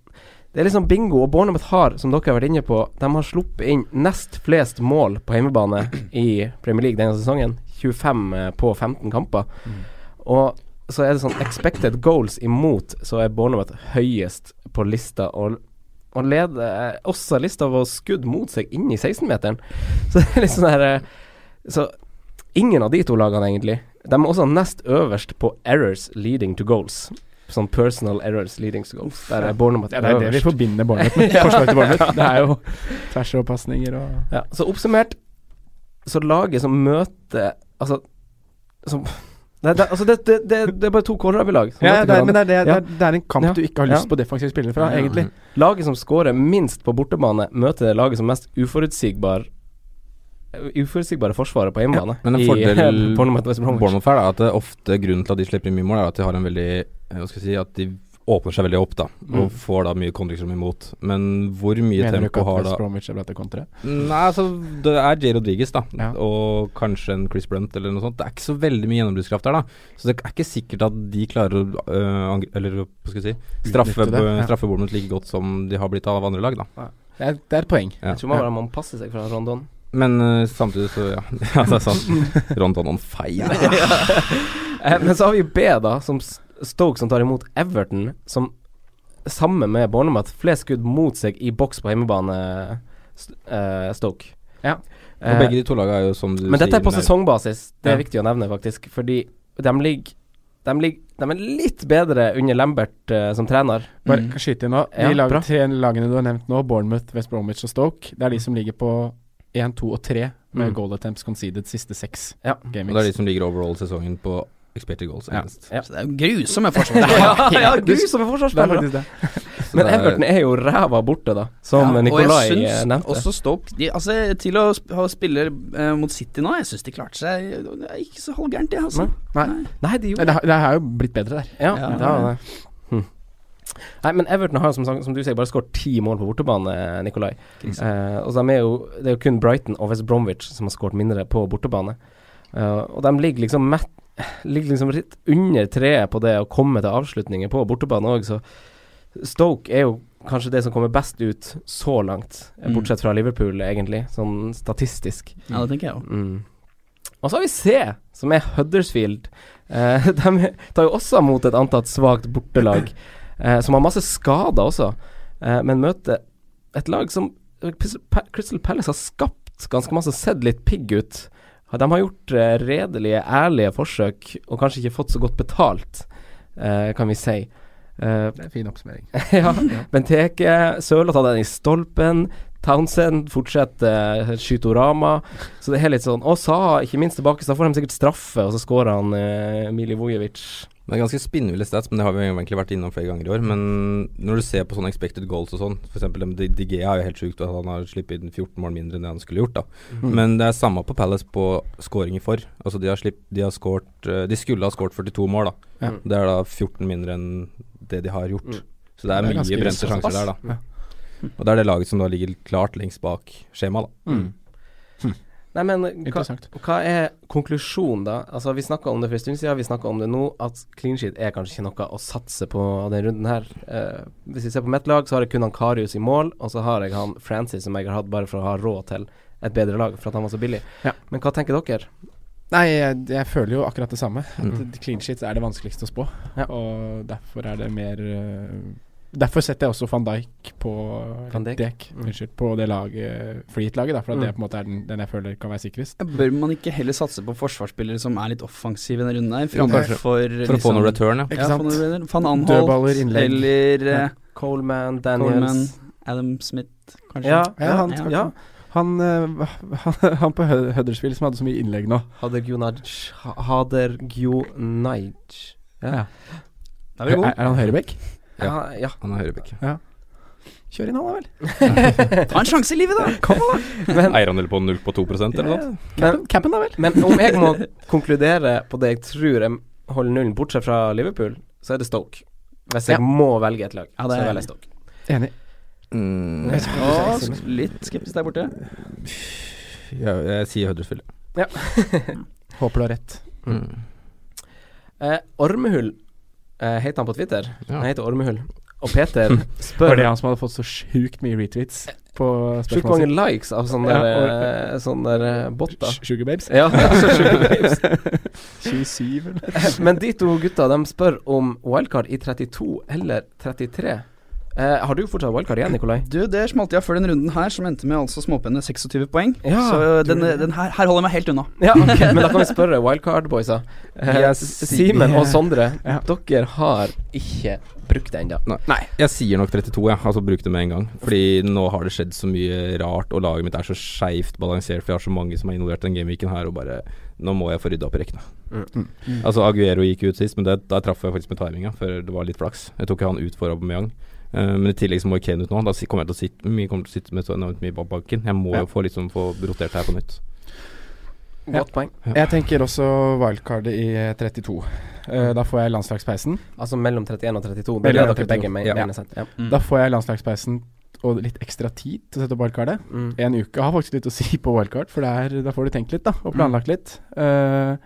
B: det er liksom bingo, og Bournemouth har, som dere har vært inne på, de har sluppet inn nest flest mål på hjemmebane i Premier League denne sesongen. 25 på 15 kamper. Og så er det sånn expected goals imot, så er Bournemouth høyest på lista. Og, og leder eh, også lista av å skudd mot seg inn i 16-meteren. Så det er litt sånn her eh, Så ingen av de to lagene, egentlig. De er også nest øverst på errors leading to goals. Sånn personal errors leading to goals. Der er Bournemouth
C: Ja, det er det vi
B: øverst.
C: forbinder Bournemouth med. Forsvaret til Bournemouth. Det er jo tversoverpasninger og sånn.
B: Ja, så oppsummert Så laget som møter Altså som, det, det, altså det, det, det, det er bare to kålrabilag. som
C: ja, det er,
B: møter hverandre.
C: Men det er, det, det,
B: Ja.
C: er, det er en kamp
B: Ja.
C: du ikke har lyst
B: Ja.
C: på defensive spillere fra,
E: Ja.
C: egentlig.
B: Laget som skårer minst på bortebane, møter det laget som mest uforutsigbar uforutsigbare forsvaret på hjemmebane.
D: Men en
B: i- eh,
D: fordel-
B: Bournemouth West Bromwich.
D: Bournemouth her, da, at det ofte grunnen til at de slipper inn mye mål, er at de har en veldig eh, Hva skal jeg si At de åpner seg veldig opp, da. Og
B: Mm.
D: får da mye kontriksjon imot. Men hvor mye
C: Mener du ikke
D: tempo
C: at
D: har da
C: West Bromwich er bra til å kontre?
D: Nei, altså det er Jay Rodriguez, da.
C: Ja.
D: Og kanskje en Chris Brunt eller noe sånt. Det er ikke så veldig mye gjennombruddskraft der, da. Så det er ikke sikkert at de klarer å øh, angri- Eller hva skal jeg si Straffe,
C: Utnytte det, ja.
D: straffe Bournemouth like godt som de har blitt av andre lag, da.
C: Det er, det er et poeng.
D: Ja.
B: Jeg tror man bare må passe seg fra Rondon.
D: Men øh, samtidig så Ja, ja det er sant. Rondon on fire.
B: Eh, Men så har vi B, da, som S- Stoke som tar imot Everton, som sammen med Bournemouth flest skudd mot seg i boks på hjemmebane, S- eh, Stoke.
C: Ja.
B: Eh,
D: Og begge de to lagene er jo som du
B: Men dette er på
D: nær-
B: sesongbasis, det er
D: Ja.
B: viktig å nevne, faktisk. Fordi de ligger de, ligger, de er litt bedre under Lambert eh, som trener.
C: Bare
E: Mm.
C: skyte inn nå. De
B: Ja,
C: lag,
B: bra.
C: tre lagene du har nevnt nå, Bournemouth, West Bromwich og Stoke, det er de som ligger på 1, 2 og 3 med
B: Mm.
C: goal attempts conceded siste seks
B: Ja.
D: Og det er de som ligger overall sesongen på expected goals.
C: Ja.
D: eneste.
E: Så det er jo grusomme forsvarsspillere.
B: ja, Gud, som er
C: Det er
B: forsvarsspiller!
C: faktisk det.
D: Så
B: Men
D: det er-
B: Everton er jo ræva borte, da, som
E: Ja,
B: Nikolai
E: og jeg
B: eh,
E: syns
B: nevnte.
E: Også Stoke de, altså, Til å sp ha spille eh, mot City nå, jeg syns de klarte seg Det er ikke så halvgærent, det, altså.
C: Nei.
B: Nei, de
C: Nei,
B: gjorde
C: Det, har- det har jo blitt bedre der.
B: Ja,
E: Ja.
B: det har det. Hm. Nei, men Everton har jo som, sagt- som du sier bare skåret ti mål på bortebane, Nikolai.
E: Krise.
B: Eh, og så de er jo, det er jo kun Brighton og West Bromwich som har skåret mindre på bortebane. Eh, og de ligger liksom, mett, ligger liksom litt under treet på det å komme til avslutninger på bortebane òg, så Stoke er jo kanskje det som kommer best ut så langt, eh,
E: Mm.
B: bortsett fra Liverpool, egentlig, sånn statistisk.
E: Ja, det tenker jeg òg.
B: Mm. Og så har vi C, som er Huddersfield. Eh, de tar jo også mot et antatt svakt bortelag, eh, som har masse skader også, eh, men møter et lag som Pis- Pa- Crystal Palace har skapt ganske masse, sett litt pigg ut. De har gjort eh, redelige, ærlige forsøk, og kanskje ikke fått så godt betalt, eh, kan vi si. Eh,
C: Det er en fin oppsummering.
B: eh, ja, Benteke, Sørloth hadde den i stolpen. Townsend fortsetter eh, skytorama. Så det er litt sånn Og Saha, ikke minst tilbake, så da får de sikkert straffe, og så scorer han eh, Milivojevic.
D: Det er ganske spinnville stats, men det har vi jo egentlig vært innom flere ganger i år. Men når du ser på sånne expected goals og sånn, f.eks. DG er jo helt sjukt at han har sluppet inn 14 mål mindre enn det han skulle gjort, da. Men det er samme på Palace på skåringer for. Altså de har slipp, de har skårt eh, De skulle ha skåret 42 mål, da.
B: Ja.
D: Det er da 14 mindre enn det de har gjort.
B: Mm.
D: Så det er,
C: Det er ganske
D: mye brente
C: såpass.
D: sjanser der, da. Og det er det laget som da ligger klart lengst bak skjemaet, da.
B: Nei, men hva,
C: Interessant.
B: hva er konklusjonen, da? Altså, vi snakka om det for en stund siden, vi snakka om det nå, at clean sheet er kanskje ikke noe å satse på denne runden her. Eh, hvis vi ser på mitt lag, så har jeg kun han Karius i mål, og så har jeg han Francis, som jeg har hatt bare for å ha råd til et bedre lag, for at han var så billig.
C: Ja.
B: Men hva tenker dere?
C: Nei, jeg, jeg føler jo akkurat det samme. At
D: Mm.
C: Clean sheets er det vanskeligste å spå.
B: Ja.
C: Og derfor er det mer øh, Derfor setter jeg også van Dijk på
B: Van Dijk?
C: Dijk,
B: Mm.
C: Unnskyld, på det laget, Freet-laget, da, for at
B: Mm.
C: det på en måte er den, den jeg føler kan være sikrest.
E: Bør man ikke heller satse på forsvarsspillere som er litt offensive i denne runden her?
D: Jo, kanskje.
E: For, liksom-
D: For å få noe return, ja.
C: Ikke
E: Ja,
C: sant?
E: få noe return. Van Anholt
C: Dødballer, innlegg
E: eller eh,
B: Coleman,
E: Coleman,
B: Daniels
E: Adam Smith, kanskje.
B: Ja,
C: Ja,
B: han,
E: ja.
B: ja.
C: han, øh, han, han på Hud- Huddersfield som hadde så mye innlegg nå.
B: Hader Gjonaj Hader Gjonaj Ja.
E: Da er vi gode.
C: Er, er han høyrebekk?
B: Ja, ja.
D: Han er høyrebekk.
C: Kjør inn han, da vel.
E: Ta en sjanse i livet, da! Kom an!
B: Men
D: Eierandel på 0,2 eller noe sånt.
B: Men-
C: Cappen, da vel.
B: Men om jeg må konkludere på det jeg tror jeg holder nullen, bortsett fra Liverpool, så er det Stoke. Hvis jeg
C: Ja.
B: må velge et lag,
E: Ja, det
B: så
E: er-
B: velger jeg Stoke.
C: Enig.
B: Jeg
D: Mm, jeg,
B: tror
E: Å,
B: ikke det er-
E: litt skeptisk der borte.
D: jeg, sier Huddersfield.
C: Håper du har rett.
D: Mm.
B: Eh, Ormehull eh, heter han på Twitter.
D: Ja.
B: Han heter Ormehull. Og Peter
C: Var det
B: spør
C: han som hadde fått så sjukt mye retweets på
B: Sjukt
C: spørsmålet
B: mange
C: sitt?
B: likes av sånne
C: Ja,
B: der,
C: og-
B: eh, sånne der eh, botter.
C: Sh- Sugar Babes?
B: Ja, så sjukt likes.
C: 27, eller?
B: Eh, Men de to gutta de spør om wildcard i 32 eller 33. Eh, har du fortsatt wildcard igjen, Nikolai?
E: Du, det smalt jeg før den runden her, som endte med altså småpenne 26 poeng.
B: Ja,
E: så
B: du-
E: den, den her, her holder jeg meg helt unna.
B: Ja, ok, men da kan vi spørre wildcard-boysa. Eh,
D: Jeg
B: S- Simen og Sondre,
C: Ja.
B: dere har ikke brukt det ennå.
D: Jeg sier nok 32, jeg. Altså bruk det med en gang. Fordi nå har det skjedd så mye rart, og laget mitt er så skeivt balansert, for jeg har så mange som er involvert i den gameweeken her, og bare Nå må jeg få rydda opp i rekkene. Altså, Aguero gikk ut sist, men det, da traff jeg faktisk med timinga, for det var litt flaks. Jeg tok han ut for Aubameyang. Eh, men i tillegg så må jo Kane ut nå. Da si- kommer jeg til å sitte, mye, kommer til å sitte med så enormt mye bak banken. Jeg må
C: Ja.
D: jo få, liksom, få rotert her på nytt.
C: Ja.
B: Godt poeng.
C: Jeg tenker også wildcardet i eh, 32. Eh, da får jeg landslagspeisen.
B: Altså mellom 31 og 32. Det
C: Mellom
B: er dere
C: 32.
B: begge med.
C: Ja.
B: mener sant? Ja.
C: Da får jeg landslagspeisen og litt ekstra tid til å sette opp wildcardet.
B: Mm.
C: En uke har faktisk litt å si på wildcard, for det er, da får du tenkt litt da, og planlagt litt. Eh,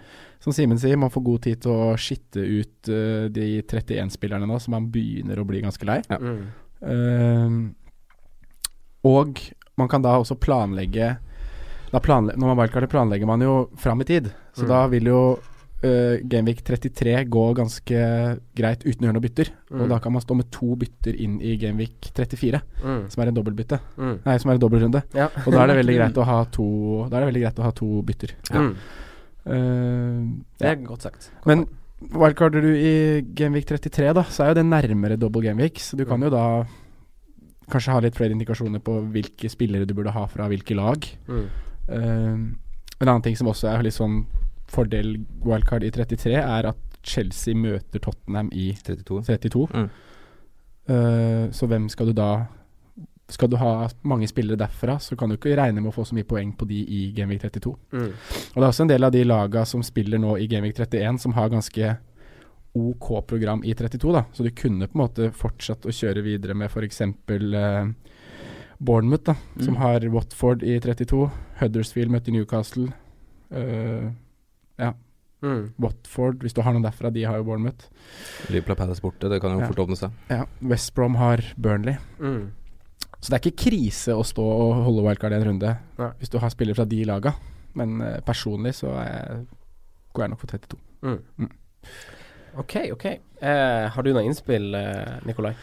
C: som Simen sier, man får god tid til å skitte ut eh, de 31 spillerne nå, så man begynner å bli ganske lei.
D: Ja.
B: Mm.
C: Ehm, og man kan da også planlegge da planle Når man wildcarder, planlegger man jo fram i tid. Så
B: Mm.
C: da vil jo eh, Gameweek 33 gå ganske greit uten å gjøre noe bytter.
B: Mm.
C: Og da kan man stå med to bytter inn i Gameweek 34,
B: Mm.
C: som er en dobbeltbytte.
B: Mm.
C: Nei, som er en dobbeltrunde.
B: Ja.
C: Og da er det veldig greit å ha to Da er det veldig greit å ha to bytter.
B: Mm.
C: Ehm,
B: Det
C: ja.
B: er godt sagt. Godt
C: Men
B: poeng.
C: wildcarder du i Gameweek 33, da, så er jo det nærmere double Gameweek, så du kan jo da kanskje ha litt flere indikasjoner på hvilke spillere du burde ha fra hvilke lag.
B: Mm.
C: Ehm, en annen ting som også er litt sånn fordel wildcard i 33, er at Chelsea møter Tottenham i
D: 32.
C: 32.
D: Mm.
C: Ehm, så hvem skal du da Skal du ha mange spillere derfra, så kan du ikke regne med å få så mye poeng på de i Gameweek 32.
B: Mm.
C: Og det er også en del av de laga som spiller nå i Gamevik 31, som har ganske OK program i 32, da. Så du kunne på en måte fortsatt å kjøre videre med f.eks. Eh, Bournemouth, da, som
E: Mm.
C: har Watford i 32. Huddersfield møtte Newcastle. Eh,
B: Mm.
C: Watford, hvis du har noen derfra, de har jo Bournemouth.
D: Liverpool er Palace borte, det kan jo
C: Ja.
D: fort åpne seg.
C: Ja, West Brom har Burnley.
B: Mm.
C: Så det er ikke krise å stå og holde wildcard i en runde
B: Nei.
C: hvis du har spillere fra de laga. Men eh, personlig så er jeg, går jeg nok for 32.
B: OK, OK. Eh, har du noe innspill, eh, Nikolai?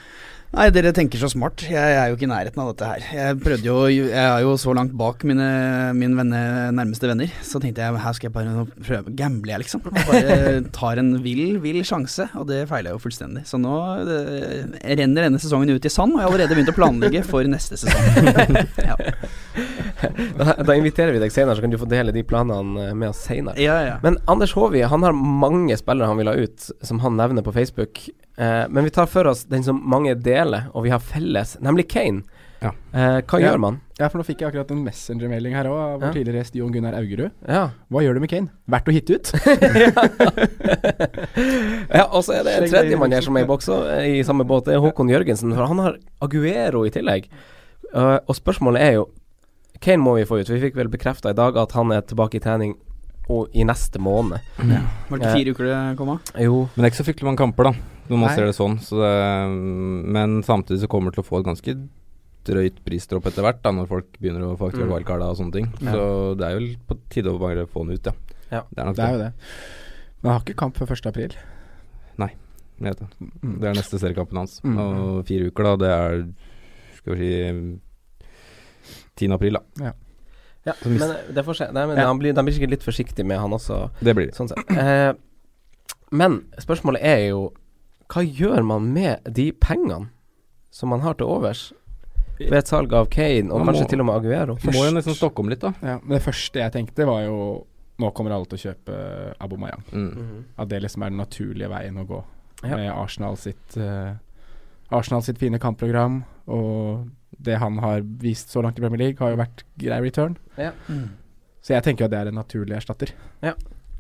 E: Nei, dere tenker så smart. Jeg er jo ikke i nærheten av dette her. Jeg prøvde jo Jeg er jo så langt bak mine, min venne, nærmeste venner, så tenkte jeg her skal jeg bare prøve Gamble jeg, liksom. Og bare tar en vill, vill sjanse, og det feiler jeg jo fullstendig. Så nå eh, renner denne sesongen ut i sand, og jeg har allerede begynt å planlegge for neste sesong. ja.
B: Da, da inviterer vi deg senere, så kan du få dele de planene eh, med oss senere.
E: ja, ja.
B: Men Anders Håvi han har mange spillere han vil ha ut, som han nevner på Facebook. Eh, men vi tar for oss den som mange deler, og vi har felles, nemlig Kane.
D: Ja.
B: Eh, hva
C: Ja.
B: gjør man?
C: Ja, for nå fikk jeg akkurat en messengermelding her òg, av vår
B: Ja.
C: tidligere gjest Jon Gunnar Augerud.
B: Ja.
C: Hva gjør du med Kane? Verdt å hitte ut?
B: ja, og så er det en
C: Skjegg-
B: tredjemann her som er i boks også, eh, i samme båt, det er Håkon Jørgensen. For han har Aguero i tillegg. Eh, og spørsmålet er jo Kane må vi få ut. Vi fikk vel bekrefta i dag at han er tilbake i trening og i neste måned.
E: Var det
B: eh,
E: ikke fire uker det kom av?
B: Jo,
D: Men det er ikke så fryktelig mange kamper, da, når man
C: Nei.
D: ser det sånn. Så det, men samtidig så kommer det til å få et ganske drøyt prisdropp etter hvert, da, når folk begynner å få aktivert
B: Mm.
D: wildcarda og sånne ting.
B: Ja.
D: Så det er jo på tide å bare få den ut, ja.
B: Ja.
D: Det er nok
C: Det er jo det. Men han har ikke kamp før 1. april.
D: Jeg vet det. Det er neste seriekampen hans.
C: Mm.
D: Og fire uker, da, det er Skal vi si 10. april, da.
B: Ja,
D: Så
B: men
D: mist-
B: eh, det får skje. Nei, men
C: Ja.
B: han blir, de blir sikkert litt forsiktige med han også,
D: Det blir det.
B: sånn sett. Eh, men spørsmålet er jo Hva gjør man med de pengene som man har til overs ved et salg av Kane, og
D: Man
B: kanskje
D: må-
B: til og med Aguero?
D: Må jo nesten stokke om litt, da.
C: Ja, men det første jeg tenkte, var jo Nå kommer alle til å kjøpe Abomayang.
D: Mm.
B: Mhm.
C: At det liksom er den naturlige veien å gå.
B: Ja.
C: Med Arsenal sitt eh, Arsenal sitt fine kampprogram og det han har vist så langt i Premier League, har jo vært grei return.
B: Mm.
C: Så jeg tenker jo at det er en naturlig erstatter.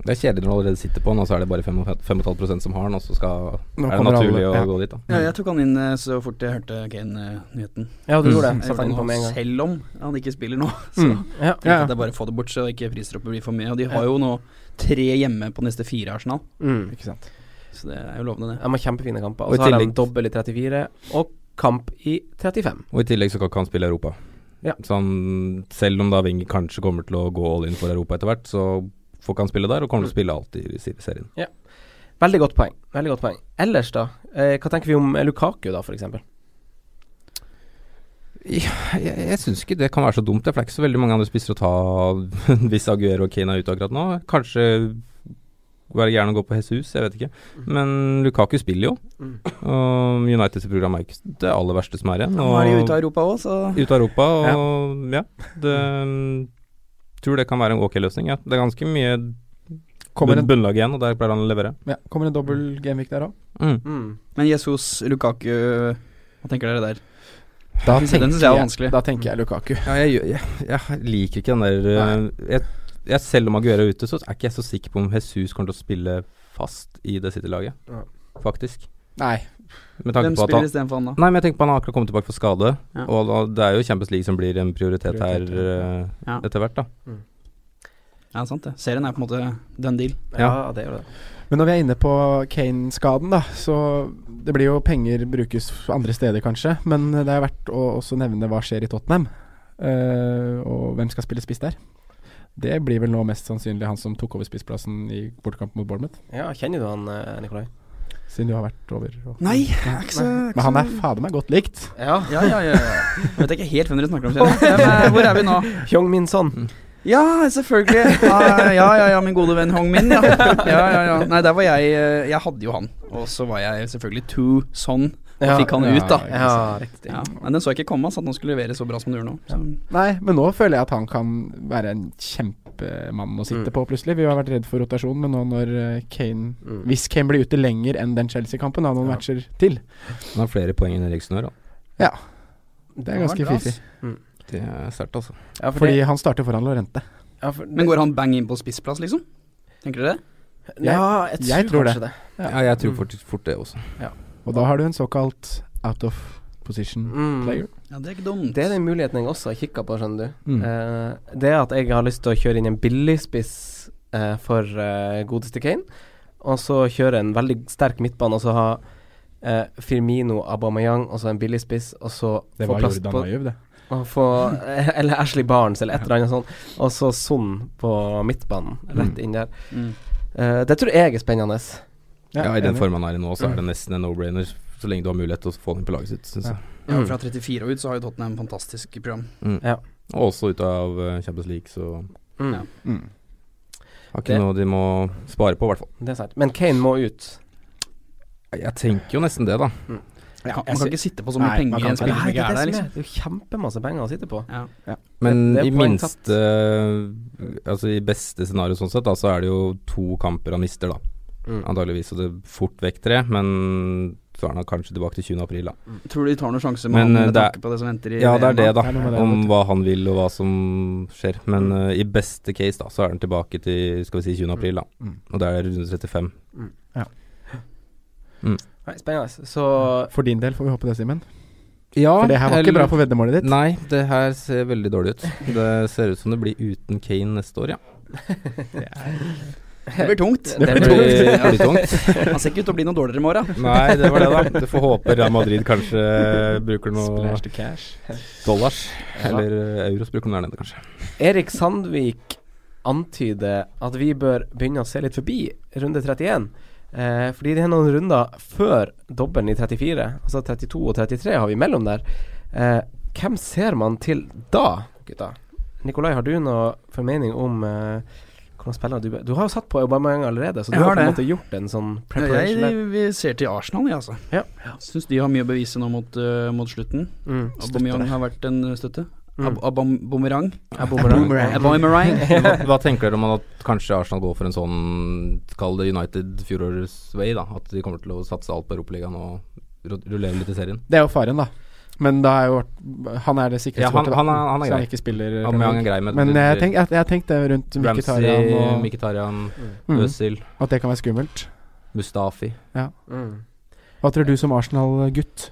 D: Det er kjedelig når du allerede sitter på den, og så er det bare 5,5 som har den, og så
C: Nå
D: skal Er det
C: kommer
D: naturlig
C: alle-
D: å
C: ja.
D: gå dit, da?
E: Ja, jeg tok han inn eh, så fort jeg hørte eh, Kane-nyheten.
B: Ja, du
D: Mm.
B: gjorde det. Satt han på med en gang.
E: Selv om han ikke spiller nå. Så
C: Mm.
B: Ja.
E: tenkte jeg
C: Ja.
E: at det er bare å få det bort, så ikke prisdroppet blir for mye. Og de har jo nå tre hjemme på neste fire Arsenal,
B: Mm.
C: Ikke sant.
E: så det er jo lovende, det.
B: De har kjempefine kamper.
D: Og
B: Og
D: i
B: så har de
D: tillegg-
B: dobbel i 34, og kamp i 35.
D: Og i tillegg så kan ikke han spille i Europa.
B: Ja.
D: Så han, selv om da Wenger kanskje kommer til å gå all in for Europa etter hvert, så får ikke han spille der, og kommer til å spille alltid i ser- serien.
B: Veldig godt poeng. Veldig godt poeng. Ellers, da? Eh, hva tenker vi om eh, Lukaku, da, for eksempel?
D: Jeg, jeg syns ikke det kan være så dumt, det, for det er ikke så veldig mange andre spisser å ta hvis Aguero og Kane er ute akkurat nå. Kanskje være gjerne å gå på Jesus, jeg vet ikke.
E: Mm.
D: Men Lukaku spiller jo.
B: Mm.
D: Og United sitt program er ikke det aller verste som er igjen.
E: Nå er de ute av Europa òg, så
D: Ut av Europa, og ja, det tror det kan være en ok løsning. Ja. Det er ganske mye
C: Kommer en,
D: bunnlag igjen, og der pleier han å levere.
C: ja, kommer en dobbel gameweek der òg.
D: Mm.
B: Mm.
E: Men Jesus, Lukaku Hva tenker dere der?
C: Da,
E: Den synes jeg
C: tenker
E: var vanskelig.
C: jeg- da tenker jeg Lukaku.
D: Ja, jeg, gjør- jeg, jeg liker ikke den der eh, jeg, jeg, Selv om Aguero er ute, så er ikke jeg så sikker på om Jesus kommer til å spille fast i det City-laget,
B: Ja.
D: faktisk.
C: Nei.
D: Med
E: Hvem
D: tanke på at
E: spiller
D: han
E: istedenfor han, da?
D: Nei, men jeg tenker på han har akkurat kommet tilbake for skade,
E: Ja.
D: og da, det er jo Champions League som blir en prioritet,
C: Prioritet,
D: her eh,
E: Ja.
D: etter hvert, da.
E: Ja, sant det. Serien er på en måte done deal.
B: Ja, det gjør det.
C: Men når vi er inne på Kane-skaden, da, så det blir jo penger brukes andre steder, kanskje. Men det er verdt å også nevne hva skjer i Tottenham, eh, og hvem skal spille spiss der. Det blir vel nå mest sannsynlig han som tok over spissplassen i bortekamp mot Bournemouth,
B: Ja, kjenner du han, eh, Nikolai?
C: siden du har vært over. Og
E: Nei, jeg er ikke så
C: Men han er fader meg godt likt.
B: Ja.
E: Ja, ja, ja. ja. Vet jeg ikke helt hvem dere snakker om. kjenner jeg. Men, eh, Hvor er vi nå?
B: Hyung Min Son.
E: Ja, selvfølgelig. Ah, ja, ja, ja, min gode venn Hong Min, ja. ja, ja, ja. Nei, der var jeg eh, Jeg hadde jo han. Og så var jeg selvfølgelig too son.
B: Ja.
E: fikk han
C: ja,
E: ut, da.
C: ikke
B: Ja,
C: sant.
B: riktig.
E: Ja, men den så jeg ikke komme, altså, at han skulle levere så bra som han gjorde nå. Så.
C: Nei, men nå føler jeg at han kan være en kjempemann å sitte
B: Mm.
C: på, plutselig. Vi har vært redd for rotasjon, men nå når eh, Kane
B: Mm.
C: Hvis Kane blir ute lenger enn den Chelsea-kampen, da, noen
B: Ja.
C: matcher til.
D: Han har flere poeng enn Eriksen har, da.
C: Det er
E: Ja,
C: ganske
E: bra,
C: fiffig.
E: ass.
D: Det er sterkt, altså.
B: Ja, for
C: Fordi
B: det-
C: han starter foran Lorente.
B: ja, for det-
E: Men går han bang inn på spissplass, liksom? Tenker dere det?
B: Ja, jeg,
C: jeg
B: tror
C: tror
B: kanskje det.
D: Ja, jeg tror fort, fort det også.
C: Og da har du en såkalt out of position
B: Mm.
C: player.
E: Ja, det er ikke dumt.
B: Det er den muligheten jeg også har kikka på, skjønner du.
C: Mm.
B: Eh, det at jeg har lyst til å kjøre inn en billigspiss eh, for eh, godeste Kane, og så kjøre en veldig sterk midtbane, og så ha eh, Firmino, Abamayang, og så en billigspiss, og så
C: Det
B: få
C: var
B: plass
C: Jordan
B: på
C: Ayew, det.
B: og få, Eller Ashley Barnes, eller et eller annet sånt. Og så Son på midtbanen, rett inn der.
E: Mm.
B: Eh, det tror jeg er spennende.
D: Ja, I den
C: enig.
D: formen han er i nå, så er det nesten en no-brainer. så lenge du har mulighet til å få den på laget sitt, synes jeg.
E: Ja, fra 34 og ut så har jo Tottenham fantastisk program.
D: Mm.
B: Ja.
D: Og også ut av eh, Champions League, så
B: Mm.
E: Ja.
C: Mm.
D: har ikke
B: Det-
D: noe de må spare på, i hvert fall.
B: Det er sant. Men Kane må ut.
D: Jeg tenker jo nesten det, da.
C: Ja,
E: Kan,
C: jeg
E: man
C: ser-
E: kan ikke sitte på så
C: Nei,
E: mye
C: man
E: penger i
C: kan
E: en
C: ikke.
E: spiller
B: Nei,
E: som
B: det er
E: ikke er
B: det som
E: der, liksom.
B: er. Det er jo kjempemasse penger å sitte på.
E: Ja.
D: Men
B: Det- det er
D: i
B: poeng
D: minste Altså i beste scenario sånn sett, da, så er det jo to kamper han mister, da.
E: Mm.
D: Antakeligvis så det fort vekk tre, men så er han kanskje tilbake til 20. april, da.
E: Tror du de tar noen sjanse med,
D: Men,
E: han
D: eh,
E: med
D: det er-
E: tanke på det som venter i
D: Ja, det er det, da.
C: Det er noe med det,
D: Om
C: vet
D: hva han vil og hva som skjer. Men eh, i beste case, da, så er han tilbake til skal vi si 20. april, da.
C: Mm.
D: Og det er runde 35.
B: Nei, spennende. Så
C: For din del får vi håpe det, Simen.
D: Ja,
C: For det her var ikke bra for veddemålet ditt.
D: Nei, det her ser veldig dårlig ut. Det ser ut som det blir uten Kane neste år, ja.
E: Det blir tungt.
B: Det
D: Det
B: blir
D: blir,
B: tungt.
D: det blir tungt.
E: Han ser ikke ut til å bli noe dårligere i morgen.
D: Nei, det var det, da. Du får håpe Real Madrid kanskje bruker noe
C: Splash to cash.
D: dollars.
B: Ja.
D: Eller eh, euros bruker de der nede, kanskje.
B: Erik Sandvik antyder at vi bør begynne å se litt forbi runde 31. Eh, fordi det er noen runder før dobbelen i 34, altså 32 og 33 har vi imellom der. Eh, hvem ser man til da, gutta? Nikolai, har du noe formening om eh, hvordan spiller du Du har jo satt på Aubameyang allerede, så du
E: Jeg
B: har
E: har
B: på en
E: det.
B: måte gjort en sånn
E: Jeg
B: preparation der.
E: vi ser til Arsenal, jeg, altså.
B: Ja.
E: Syns de har mye å bevise nå mot, eh, mot slutten.
B: Mm.
E: Aubameyang har vært en eh, støtte.
B: Mm.
E: Ab Abam Bumerang.
B: Jeg bommer der.
C: Boomerang.
E: Aubameyang.
D: Hva, hva tenker dere om at kanskje Arsenal går for en sånn Kall det United fjorårets way, da? At de kommer til å satse alt på Europaligaen og ru- rullere litt i serien?
C: Det er jo faren, da. Men da er jo Han er det sikreste
D: Ja, han-
C: kortet, da.
D: han er- han
C: så
D: er grei.
C: han ikke spiller
D: Aubameyang er grei med
C: Men jeg tenk- jeg- jeg tenkte rundt Mkhitaryan
D: Ramsey,
C: og
D: Mkhitaryan,
C: mm,
D: Özil,
C: At det kan være skummelt.
D: Mustafi.
B: Mm.
C: Hva tror du som Arsenal-gutt?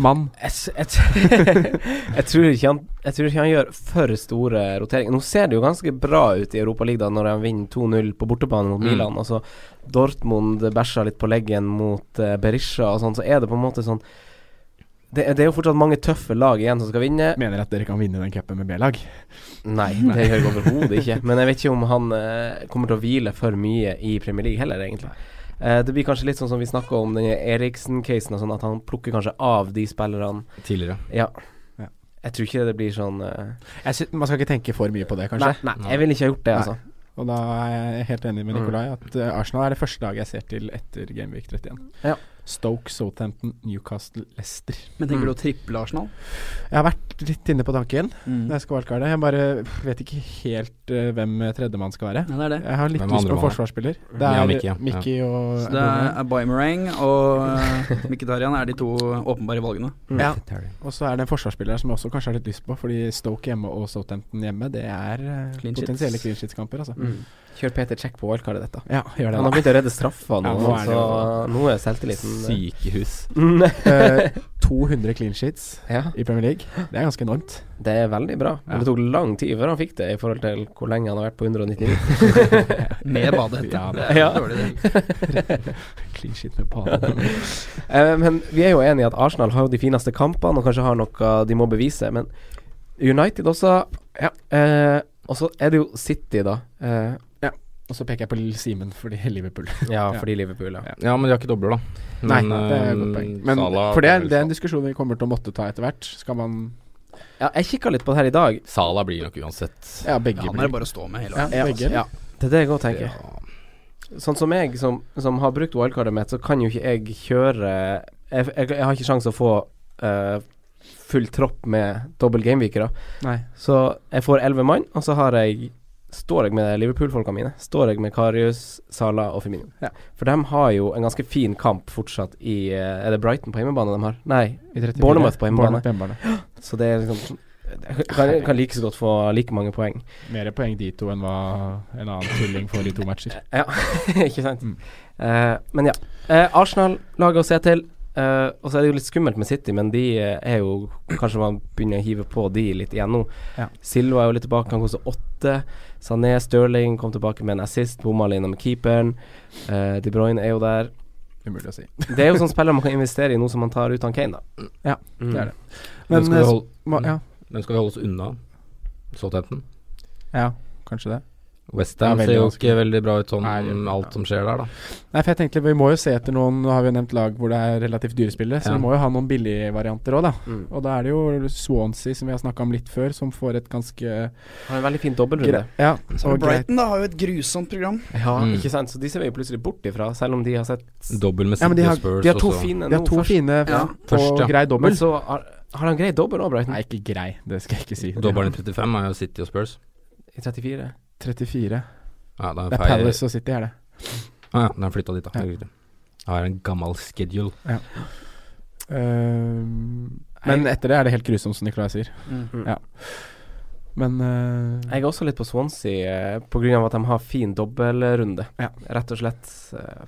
C: Mann?
B: Jeg, s- jeg, t- jeg, tror ikke han, jeg tror ikke han gjør for store roteringer. Nå ser det jo ganske bra ut i Europaligaen når han vinner 2-0 på bortebane mot
D: Mm.
B: Milan. Og så Dortmund bæsja litt på leggen mot eh, Berisha og sånn, så er det på en måte sånn det, er- det er jo fortsatt mange tøffe lag igjen som skal vinne.
C: Mener at dere kan vinne den cupen med B-lag?
B: Nei, det gjør jeg overhodet ikke. Men jeg vet ikke om han eh, kommer til å hvile for mye i Premier League heller, egentlig. Eh, det blir kanskje litt sånn som vi snakka om denne Eriksen-casen, og sånn at han plukker kanskje av de spillerne
D: Tidligere.
B: Ja.
C: Ja.
B: Jeg tror ikke det blir sånn eh,
C: Jeg sy man skal ikke tenke for mye på det, kanskje.
B: nei, nei, jeg ville ikke ha gjort det,
C: Nei.
B: altså.
C: Og da er jeg helt enig med Nikolai at eh, Arsenal er det første laget jeg ser til etter Gameweek 31.
B: Ja.
C: Stoke, Southampton, Newcastle, Leicester.
E: Men tenker du å triple Arsenal?
C: Jeg har vært litt inne på tanken
E: Mm.
C: når jeg skal wildcarde. Jeg bare vet ikke helt eh, hvem tredjemann skal være.
E: Ja, det er det.
C: Jeg har litt
D: Hvem
C: lyst
D: er
C: på en
D: andremann, da?
C: forsvarsspiller. Det
D: Ja,
C: er Mm.
D: Mickey, ja.
C: Mickey og
E: Så det er Aubameyang og eh, Mkhitaryan er de to åpenbare valgene.
C: ja. Og så er det en forsvarsspiller som jeg også kanskje har litt lyst på, fordi Stoke hjemme og Southampton hjemme, det er eh,
E: Clean sheets.
C: potensielle clean sheets-kamper, altså.
B: Mm. Kjør Peter Check på wildcardet dette.
C: Ja, gjør
B: Han har
C: det.
B: begynt å redde straffer nå,
C: Ja, nå er det
B: så
C: jo-
B: nå er selvtilliten eh,
D: Sykehus.
B: Mm.
C: da. Eh, 200 clean sheets
B: eh, ja,
C: i Premier League, det er ganske enormt.
B: det er veldig bra. Men det tok lang tid før han fikk det, i forhold til hvor lenge han har vært på 199.
E: Med badehette.
C: Ja,
E: det er
B: ja.
E: dårlig det.
C: Clean sheet med banen.
B: Eh, men vi er jo enige i at Arsenal har jo de fineste kampene, og kanskje har noe de må bevise. Men United også ja. eh, Og så er det jo City, da. Eh,
C: Og så peker jeg på Lill Simen fordi Liverpool.
B: ja,
C: Ja.
B: fordi Liverpool, ja.
D: Ja, men de har ikke dobler, da. eh,
C: Nei, det er et godt poeng. Men
D: Salah-
C: for det er, det er en diskusjon vi kommer til å måtte ta etter hvert. Skal man
B: ja jeg kikka litt på det her i dag.
D: Salah blir nok uansett.
C: Ja, begge.
E: Han er
C: blir-
E: det bare å stå med hele
C: ja,
E: veien.
C: begge.
B: Ja, det er det jeg òg tenker.
D: Ja.
B: Sånn som jeg, som, som har brukt wildcardet mitt, så kan jo ikke jeg kjøre Jeg, jeg, jeg har ikke sjanse å få eh, full tropp med dobbel gameweekere.
C: Nei.
B: Så jeg får elleve mann, og så har jeg står jeg med Liverpool-folka mine. Står jeg med Karius, Sala og Firmino.
C: Ja.
B: For de har jo en ganske fin kamp fortsatt i eh, Er det Brighton på hjemmebane de har? Nei.
C: I 34.
B: Bournemouth på hjemmebane.
C: Bournemouth på hjemmebane.
B: Så det er liksom jeg kan, jeg kan like så godt få like mange poeng.
C: Mer poeng de to enn hva en annen tulling får i to matcher.
B: Ja, ikke sant?
C: Mm.
B: Eh, men ja. Eh, Arsenal laget å se til. Eh, og så er det jo litt skummelt med City, men de eh, er jo Kanskje man begynner å hive på de litt igjen nå.
C: Ja.
B: Silva er jo litt tilbake, han koster åtte. Sané Stirling kom tilbake med en assist, bomma alene med keeperen. Eh, De Bruyne er jo der.
C: Umulig å si.
B: Det er jo sånn spiller man kan investere i nå som man tar ut han Kane, da.
C: Ja,
B: Mm.
C: det er det.
D: Men,
C: Men
D: skal
C: eh,
D: vi holde,
C: ma- ja.
D: men skal vi holde oss unna Southampton?
C: ja, kanskje det.
D: Westham
C: Det er
D: ser jo
C: veldig
D: ikke veldig bra ut sånn,
C: Nei, det gjør
D: med
C: ikke
D: alt
C: det.
D: som skjer der, da.
C: Nei, for jeg tenkte Vi må jo se etter noen Nå har vi jo nevnt lag hvor det er relativt dyre spillere, så
D: Ja.
C: vi må jo ha noen billige varianter òg, da.
B: Mm.
C: Og da er det jo Swansea, som vi har snakka om litt før, som får et ganske
B: Har en veldig fin dobbeltrunde.
C: gre ja,
E: Så
C: og greit.
E: Brighton da har jo et grusomt program.
B: Ja,
D: Mm.
B: ikke sant? Så de ser vi jo plutselig bort ifra, selv om de har sett
D: Dobbel med
C: Ja, men
D: City
C: de
D: og
C: har-
D: Spurs.
B: De har to
D: og så-
B: fine
C: De har
B: nå
C: to
B: først.
C: fine
E: Ja.
C: og
D: Først, ja.
C: grei dobbel.
B: Men så har, har han grei dobbel òg, Brighton?
C: Nei, ikke grei, det skal jeg ikke si.
D: Dobbelen i 35 er jo City og Spurs.
B: I 34.
C: 34.
D: Ja, det er,
C: Det er
D: feil.
C: Palace og City, er det.
D: Ah, ja, den er flytta dit, da. Det er
C: Ja.
D: riktig. Jeg har en gammel schedule.
E: Eh,
C: Ehm, men etter det er det helt grusomt, som Nicolai sier.
E: Mm.
C: Ja. Men eh,
B: Jeg er også litt på Swansea eh, pga. at de har fin dobbeltrunde,
C: Ja.
B: rett og slett. eh,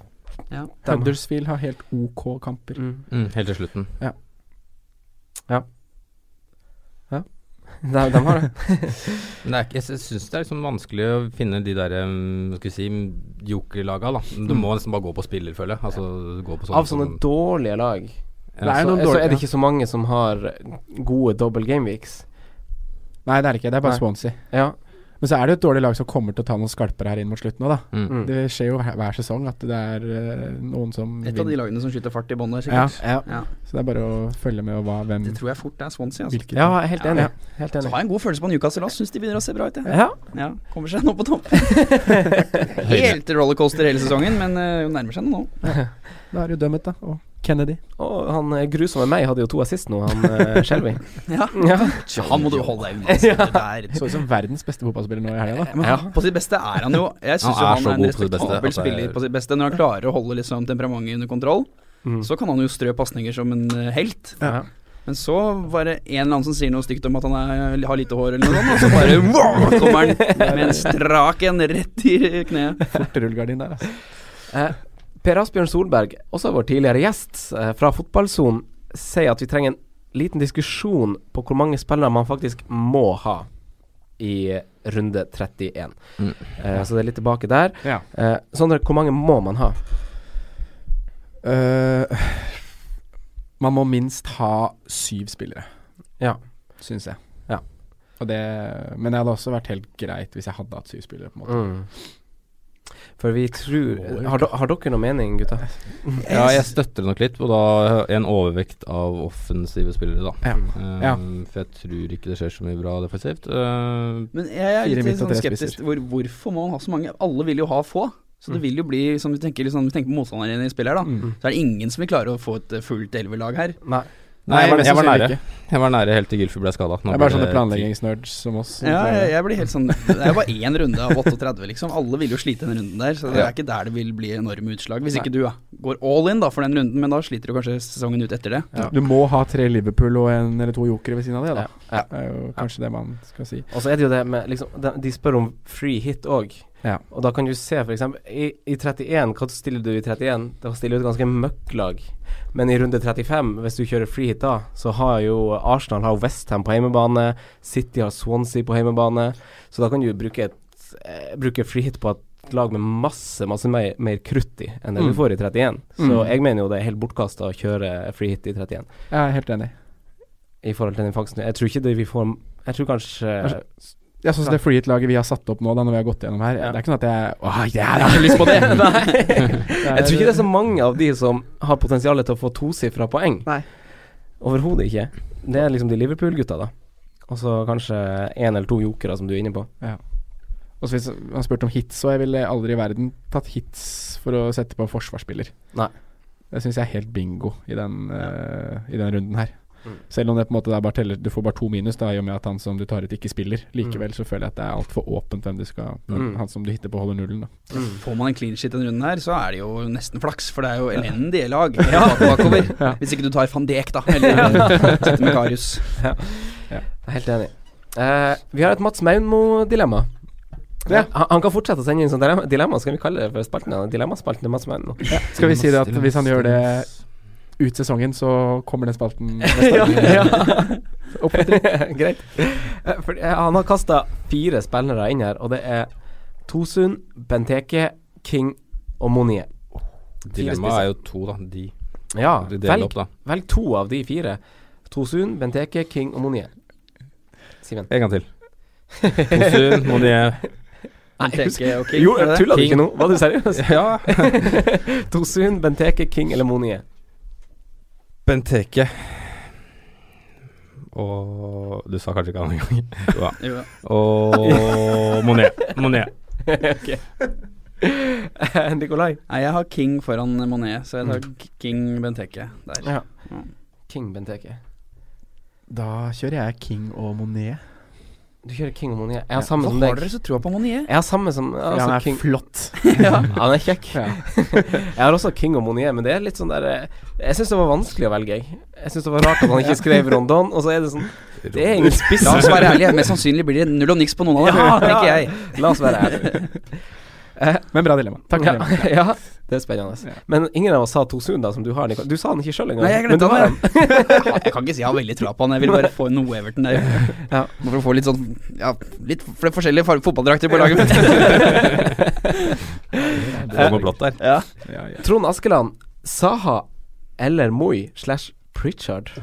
E: Ja.
B: de-
C: Huddersfield har helt OK kamper.
B: Mm.
D: helt til slutten.
B: De, de har det.
D: Men det er ikke, jeg sy- syns det er liksom vanskelig å finne de der um, hva skal vi si, jokerlaga, da. Du
C: Mm.
D: må nesten bare gå på spillerfølge. Altså gå på sånne
B: Av sånne dårlige lag,
D: Ja,
C: Nei,
B: så,
C: noen
B: så
C: dårlige,
B: er det
C: ja.
B: ikke så mange som har gode double gameweeks.
C: Nei, det er det ikke. Det er bare
B: Nei.
C: Swansea.
B: Ja.
C: Men så er det jo et dårlig lag som kommer til å ta noen skalper her inn mot slutten òg, da.
D: Mm.
B: Mm.
C: Det skjer jo hver, hver sesong at det er eh, noen som
E: Et av de lagene som skyter fart i bånn der,
C: Ja,
E: sikkert.
B: Ja.
E: Ja.
C: så det er bare å følge med og hva, hvem
E: Det tror jeg fort er Swansea. Altså.
C: hvilket
B: ja, jeg er helt
E: Ja.
B: enig. Helt
E: Så
B: enig.
E: har jeg en god følelse på Newcastle òg. Syns de begynner å se bra ut. Jeg.
B: Ja.
E: Ja, kommer seg nå på topp. Helt rollercoaster hele sesongen, men eh, hun nærmer seg det nå.
C: Da er det jo dømmet, da. Og Kennedy.
B: Og han eh, grusomme meg hadde jo to assist nå, han eh, Shelby.
E: Ja.
B: ja.
E: Han må du holde deg unna. altså. Det der-
C: Så ut som verdens beste fotballspiller nå i helga, da.
E: Men han- På sitt beste er han jo Jeg syns
D: Han
E: jo
D: er
E: han
D: så
E: er en
D: god på sitt beste
E: respektabel
D: at det er-
E: spiller på sitt beste. Når han klarer å holde liksom temperamentet under kontroll,
B: Mm.
E: så kan han jo strø pasninger som en eh, helt.
B: ja.
E: Men så var det en eller annen som sier noe stygt om at han er, har lite hår eller noe sånt, og så bare wow, kommer han med en strak en rett i kneet.
C: Fort rullegardin der, altså.
B: Eh, per Asbjørn Solberg, også vår tidligere gjest eh, fra Fotballsonen, sier at vi trenger en liten diskusjon på hvor mange spillere man faktisk må ha i runde 31.
D: Mm.
B: Eh, så det er litt tilbake der.
C: Ja.
B: Eh, Sondre, hvor mange må man ha?
C: Eh, man må minst ha syv spillere.
B: Ja.
C: Syns jeg.
B: Ja.
C: Og det, men det hadde også vært helt greit hvis jeg hadde hatt syv spillere, på en måte.
B: Mm. For vi tror har, do- har dere noe mening, gutta?
D: Ja, jeg støtter det nok litt, og da en overvekt av offensive spillere, da.
C: Ja.
D: Um,
C: Ja.
D: For jeg tror ikke det skjer så mye bra defensivt. Uh,
E: Men jeg er
C: Fire
E: litt
C: midt og
E: sånn
C: tre
E: skeptisk
C: spisser.
E: til hvor, hvorfor må man ha så mange. Alle vil jo ha få. Så det vil jo bli, som vi tenker, liksom, vi tenker på motstanderen i spillet her, da.
C: Mm.
E: Så er det ingen som vil klare å få et eh, fullt elverlag her.
B: Nei.
D: nei, jeg var,
C: mest
D: jeg var
C: sannsynlig
D: nære.
C: ikke.
D: Jeg var nære helt til Gylfi ble skada.
C: Det er bare sånne planleggingsnerds som oss. som
E: Ja,
C: tror
E: jeg,
C: det.
E: jeg blir helt sånn Det er jo bare én runde av 38, liksom. Alle vil jo slite den runden der, så det
D: Ja.
E: er ikke der det vil bli enorme utslag. Hvis ikke du ja, går all in da for den runden, men da sliter du kanskje sesongen ut etter det.
C: Ja. Du må ha tre Liverpool og en eller to jokere ved siden av det, da.
B: Ja.
C: Det er jo kanskje det man skal si.
B: Og så er det jo det med liksom, De, de spør om free hit òg.
C: Ja.
B: Og da kan du se f.eks. I, i 31, hva stiller du i 31? Da stiller du et ganske møkklag. Men i runde 35, hvis du kjører free hit da, så har jo Arsenal har Westham på hjemmebane, City har Swansea på hjemmebane, så da kan du bruke, et, eh, bruke free hit på et lag med masse, masse mer, mer krutt i enn det
C: Mm.
B: du får i 31. Så
C: Mm.
B: jeg mener jo det er helt bortkasta å kjøre free hit i 31
C: Jeg er helt enig.
B: i forhold til den fangsten. Jeg tror ikke det vi får Jeg tror kanskje
C: Kanskje- Jeg synes det free hit-laget vi har satt opp nå, da når vi har gått gjennom her
B: Ja.
C: Det er ikke sånn at jeg Åh, ja,
E: Jeg har ikke lyst på det!
B: Jeg tror ikke det er så mange av de som har potensial til å få tosifra poeng.
E: Nei.
B: Overhodet ikke. Det er liksom de Liverpool-gutta, da. Og så kanskje én eller to jokere, som du er inne på.
C: Og så Altså, hvis han spurte om hits, og jeg ville aldri i verden tatt hits for å sette på en forsvarsspiller.
B: Nei.
C: Det syns jeg er helt bingo i den, eh, i den runden her.
B: Mm.
C: Selv om det på en måte det er bare teller, du får bare to minus da, i og med at han som du tar ut, ikke spiller. Likevel så føler jeg at det er altfor åpent hvem du skal
B: Mm.
C: Han som du hitter på, holder nullen. Da.
E: Får man en clean shit denne runden her, så er det jo nesten flaks, for det er jo elendige lag bak- bakover. Hvis ikke du tar van Dijk, da, eller eh, sitter med Karius.
B: Jeg er helt enig. Eh, vi har et Mats Maunmo-dilemma.
C: Ja.
B: Han, han kan fortsette å sende inn sånne dilemma- dilemma, så kan vi kalle det for spalten hans. Dilemmaspalten til Mats Maunmo.
C: Skal vi si det at hvis han gjør det ut sesongen, så kommer den spalten neste
B: Ja,
C: gang?
B: Greit. Eh, For, eh, han har kasta fire spillere inn her, og det er Tosun, Benteke, King og Monier.
D: Dilemmaet er jo to, da. De.
C: Ah,
B: Ja,
D: de deler
B: velg
D: opp, da.
B: Velg to av de fire. Tosun, Benteke, King og Monier. Simen.
D: En gang til. Mosun, Monier,
E: Benteke og King.
B: Jo,
E: er det det?
B: tulla du
D: King.
B: ikke nå? Var du seriøs?
D: Ja,
B: Tosun, Benteke, King eller Monie?
D: Benteke. Og Du sa kanskje ikke han engang. Ja.
E: Jo, ja.
D: Og Monet. Monet.
B: ok. Eh, Nikolai.
E: Nei, jeg har King foran Monet, så jeg tar
B: Mm.
E: K- King Benteke der.
C: Ja.
B: King Benteke.
C: Da kjører jeg King og Monet.
B: Du kjører King og Monie. Jeg har samme
E: Hva
B: som
E: har
B: deg.
E: dere så troa på Monet?
B: Jeg har samme som
C: ja,
B: altså,
C: han er
B: King.
C: flott.
B: Ja, han er kjekk. jeg har også King og Monier, men det er litt sånn der eh, Jeg syns det var vanskelig å velge, jeg. Jeg syns det var rart at han ikke skrev Rondon, og så er det sånn Det er ingen spiss.
E: La oss være ærlige, mest sannsynlig blir det null og niks på noen av dem,
B: Ja,
E: tenker
B: ja.
E: jeg.
B: La oss være ærlige.
C: Men bra dilemma. Takk for
B: Ja,
C: dilemmaet.
B: ja, det er spennende. Men ingen av oss sa Tosun, da, som du har, Nicole. Du sa han ikke sjøl engang.
E: Nei, jeg
B: men du
E: glemte
B: har
E: han. Jeg Jeg kan ikke si jeg har veldig troa på han, jeg vil bare få noe Everton der.
B: Ja.
E: For å få litt sånn Ja, litt f- forskjellige farge- fotballdrakter på laget mitt.
D: Det var noe blått der.
E: Ja.
C: Ja, ja.
B: Eh, Trond Askeland, Saha eller Moi slash Pritchard?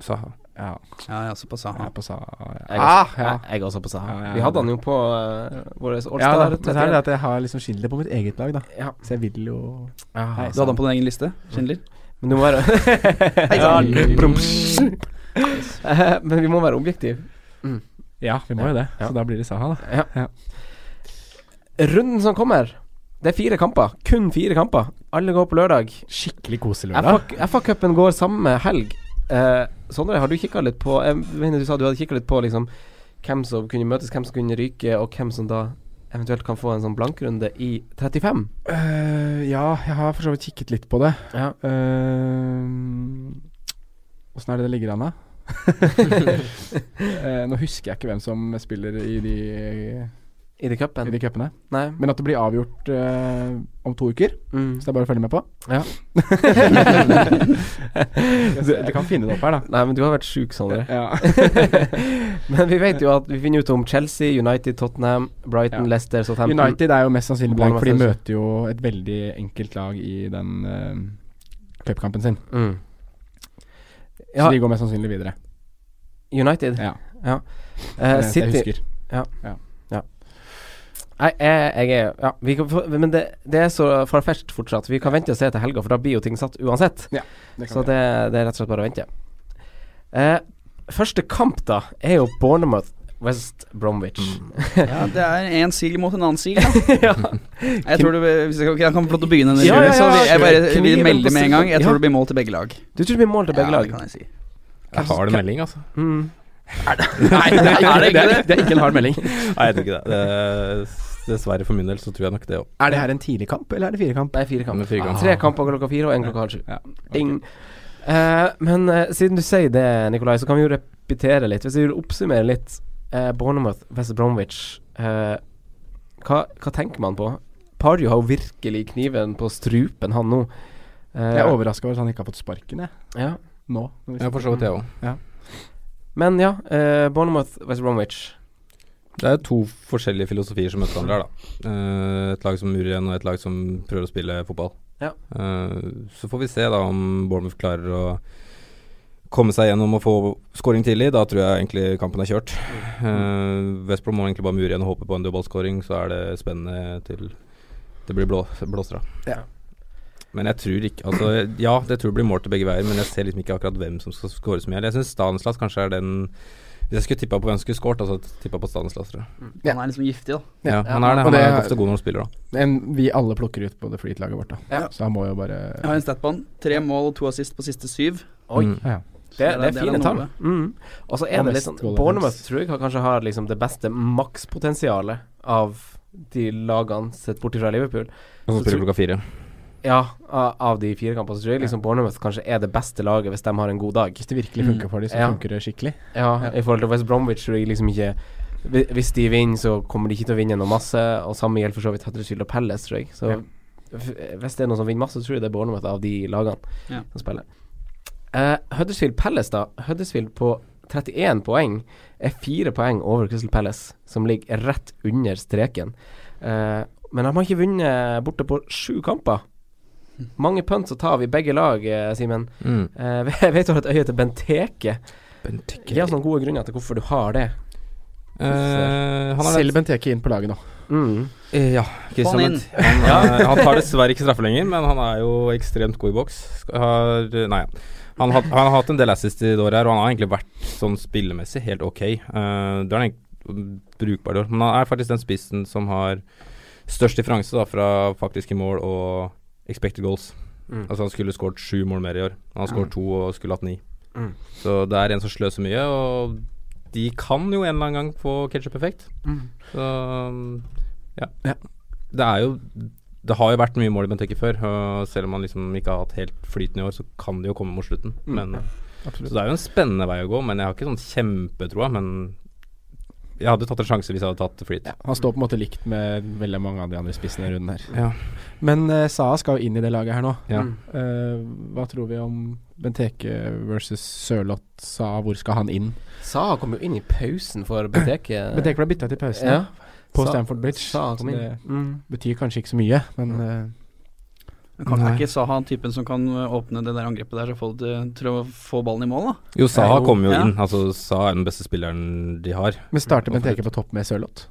D: Saha.
C: Ja,
E: ja, jeg er også på
C: jeg
E: Saha.
C: er på sa... Ja.
B: Jeg, ah,
C: ja.
B: jeg, jeg er også på Saha.
C: Ja, ja,
B: Vi hadde
C: ja.
B: han jo på uh, vår
C: Ja, da, men så er det
B: Allstar.
C: at jeg har liksom Schindler på mitt eget lag, da.
B: Ja.
C: Så jeg vil jo Nei,
E: Du hadde han på din egen liste, Schindler?
B: Men du må være
E: Ja,
B: Eh, Men vi må være objektive.
C: Ja, vi må jo det. Så da blir det Saha, da.
B: Runden som kommer, det er fire kamper. Kun fire kamper. Alle går på lørdag.
C: Skikkelig koselig lørdag.
B: FA-cupen går samme helg. Eh, Sondre, har du kikka litt på Jeg mener du sa du hadde kikka litt på liksom hvem som kunne møtes, hvem som kunne ryke, og hvem som da eventuelt kan få en sånn blankrunde i 35.
C: Eh, ja, jeg har for så vidt kikket litt på det. Eh,
B: Ja.
C: Åssen er det det ligger an, da? Eh, nå husker jeg ikke hvem som spiller i de,
B: I det
C: i
B: cupen?
C: de cupene.
B: Nei.
C: Men at det blir avgjort eh, om to uker,
B: Mm.
C: så det er bare å følge med på.
B: Ja.
C: Jeg kan finne det opp her, da.
B: Nei, men du har vært sjuk, Sondre.
C: Ja.
B: men vi vet jo at vi finner ut om Chelsea, United, Tottenham, Brighton,
C: Ja.
B: Leicester, Southampton
C: United er jo mest sannsynlig blank, for de
B: Bournemouth,
C: møter jo et veldig enkelt lag i den eh, cupkampen sin.
B: Mm.
C: Så
B: Ja,
C: de går mest sannsynlig videre.
B: United.
C: Ja, det
B: Eh,
C: er det eneste jeg
B: City
C: husker.
B: Nei, jeg, jeg er ja, vi kan, få- Men det, det er så farfetched fortsatt. Vi kan vente og se til helga, for da blir jo ting satt uansett.
C: Det kan
B: Så
C: vi.
B: det, det er rett og slett bare å vente. Eh, første kamp, da, er jo Bournemouth West Bromwich.
C: Mm.
E: Ja, det er én sil mot en annen sil. da.
B: ja.
E: Jeg tror du, hvis jeg, kan- jeg kan få lov til å begynne
B: Ja, ja, ja,
E: så vil jeg bare
B: kniven
E: vil
B: på
E: melde med en gang. Jeg
B: siden.
E: tror
B: Ja.
E: det blir mål til begge lag.
B: Du tror det blir mål til begge
E: ja, det
B: lag?
E: kan jeg si.
D: Jeg har en melding, altså.
B: Mm.
E: Nei, det er det ikke det?
C: Det er ikke en hard melding.
D: Nei, jeg tror ikke det. det. Dessverre for min del så tror jeg nok det òg.
C: Er det her en tidlig kamp, eller er det firekamp?
B: Nei, fire
D: Med
B: kamper.
D: fire kamper.
B: Tre kamper klokka fire og én klokka halv sju.
C: Ja.
B: Ding. Eh, men eh, siden du sier det, Nikolai, så kan vi jo repetere litt. Hvis vi vil oppsummere litt eh, Bournemouth, West Bromwich eh, hva, hva tenker man på? Pardew har jo virkelig kniven på strupen, han nå. Eh,
C: Jeg er overraska over at han ikke har fått sparken, jeg.
B: ja.
C: Nå. når vi
D: Ja, for så vidt jeg òg.
B: Men ja, eh, Bournemouth, West Bromwich.
D: Det er to forskjellige filosofier som møter hverandre her, da. Eh, Et lag som murer igjen, og et lag som prøver å spille fotball.
B: Ja.
D: Eh, Så får vi se da om Bournemouth klarer å komme seg gjennom og få scoring tidlig. Da tror jeg egentlig kampen er kjørt.
B: Mm.
D: Eh, West Brom må egentlig bare mure igjen og håpe på en dødballscoring, så er det spennende til det blir blå, blåstra.
B: Ja.
D: Men jeg tror ikke Altså, ja, jeg tror det blir mål til begge veier, men jeg ser liksom ikke akkurat hvem som skal skåre så mye. Jeg syns Stanislas kanskje er den Hvis jeg skulle tippa på hvem som skulle skåret, altså tippa på Stanislas, tror jeg.
C: Ja.
E: Han er liksom giftig, da.
D: Ja,
C: Ja,
D: han er
C: og
D: det. Han
C: det-
D: er ofte god når han spiller, da.
C: Men vi alle plukker ut på det flytlaget vårt, da.
B: Ja.
C: Så han må jo bare
E: Jeg har en stat på han. Tre mål og to assist på siste syv.
B: Oi.
D: Mm.
C: ja.
E: Så
B: Det, det er
E: noe.
B: fine tall. Mm. Og så er
C: Og
B: det litt
C: mest
B: sånn
C: goal
B: Bournemouth
C: difference.
B: tror jeg har- kanskje har liksom det beste makspotensialet av de lagene sett bort fra Liverpool.
D: Og så
B: Så
D: spiller
B: tror-
D: klokka fire.
B: Ja, av, av de fire kampene, så tror jeg liksom Bournemouth kanskje er det beste laget hvis de har en god dag.
C: Hvis det
D: Mm.
C: virkelig funker for dem, så
B: Ja.
C: funker det skikkelig.
B: Ja, i forhold til West Bromwich tror jeg liksom ikke hvi- Hvis de vinner, så kommer de ikke til å vinne noe masse, og samme gjelder for så vidt Huddersfield og Palace, tror jeg. Så
C: Ja.
B: f- hvis det er noen som vinner masse, så tror jeg det er Bournemouth av de lagene
E: Ja.
B: som spiller. Eh, Huddersfield Palace, da. Huddersfield på 31 poeng er fire poeng over Crystal Palace, som ligger rett under streken. Eh, men de har ikke vunnet borte på sju kamper. Mange punts å ta av i begge lag, eh, Simen.
D: Mm.
B: Eh, vet du at øyet til Benteke
D: Benteke.
B: Gi oss noen gode grunner til hvorfor du har det.
D: Eh, han er
C: Selv Benteke inn på laget nå.
B: Mm.
D: Eh, Ja, Christian
E: Få han inn.
D: Lund. Han, eh, han tar dessverre ikke straffe lenger, men han er jo ekstremt god i boks. Skal- Har, nei, ja. han, har- han har hatt en del assist i det året her, og han har egentlig vært sånn spillemessig helt ok. Eh, det er han egentlig brukbar i år, men han er faktisk den spissen som har størst differanse da, fra faktiske mål og expected goals.
B: Mm.
D: Altså Han skulle skåret sju mål mer i år. Han har skåret to og skulle hatt ni.
B: Mm.
D: Så det er en som sløser mye, og de kan jo en eller annen gang få ketsjup-effekt.
B: Mm.
D: Så ja.
C: Ja.
D: Det er jo Det har jo vært mye mål i Benteke før, og selv om man liksom ikke har hatt helt flyten i år, så kan det jo komme mot slutten. Men, så det er jo en spennende vei å gå, men jeg har ikke sånn kjempetroa. Men jeg hadde tatt en sjanse hvis jeg hadde tatt flyt.
C: Han står på en måte likt med veldig mange av de andre spissene i runden her.
D: Ja.
C: Men eh, Saha skal jo inn i det laget her nå.
D: Ja.
B: Mm.
C: Eh, hva tror vi om Benteke versus Sørloth? Saha, hvor skal han inn?
B: Sa kom jo inn i pausen for Benteke.
C: Benteke ble bytta til pausen
B: ja.
C: på
B: Sa-
C: Stamford Bridge.
B: Sa kom
C: så
B: inn.
C: det
B: Mm.
C: betyr kanskje ikke så mye, men eh,
E: Kan
D: Nei.
E: er ikke Saha typen som kan øh, åpne det der angrepet der og få det til- til å få ballen i mål, da?
D: Jo, Saha
C: Jo,
D: kommer jo
E: ja.
D: inn. Altså, Saha er den beste spilleren de har.
C: Men starter
D: Hvorfor
C: Benteke
D: ikke?
C: på topp med Sørloth?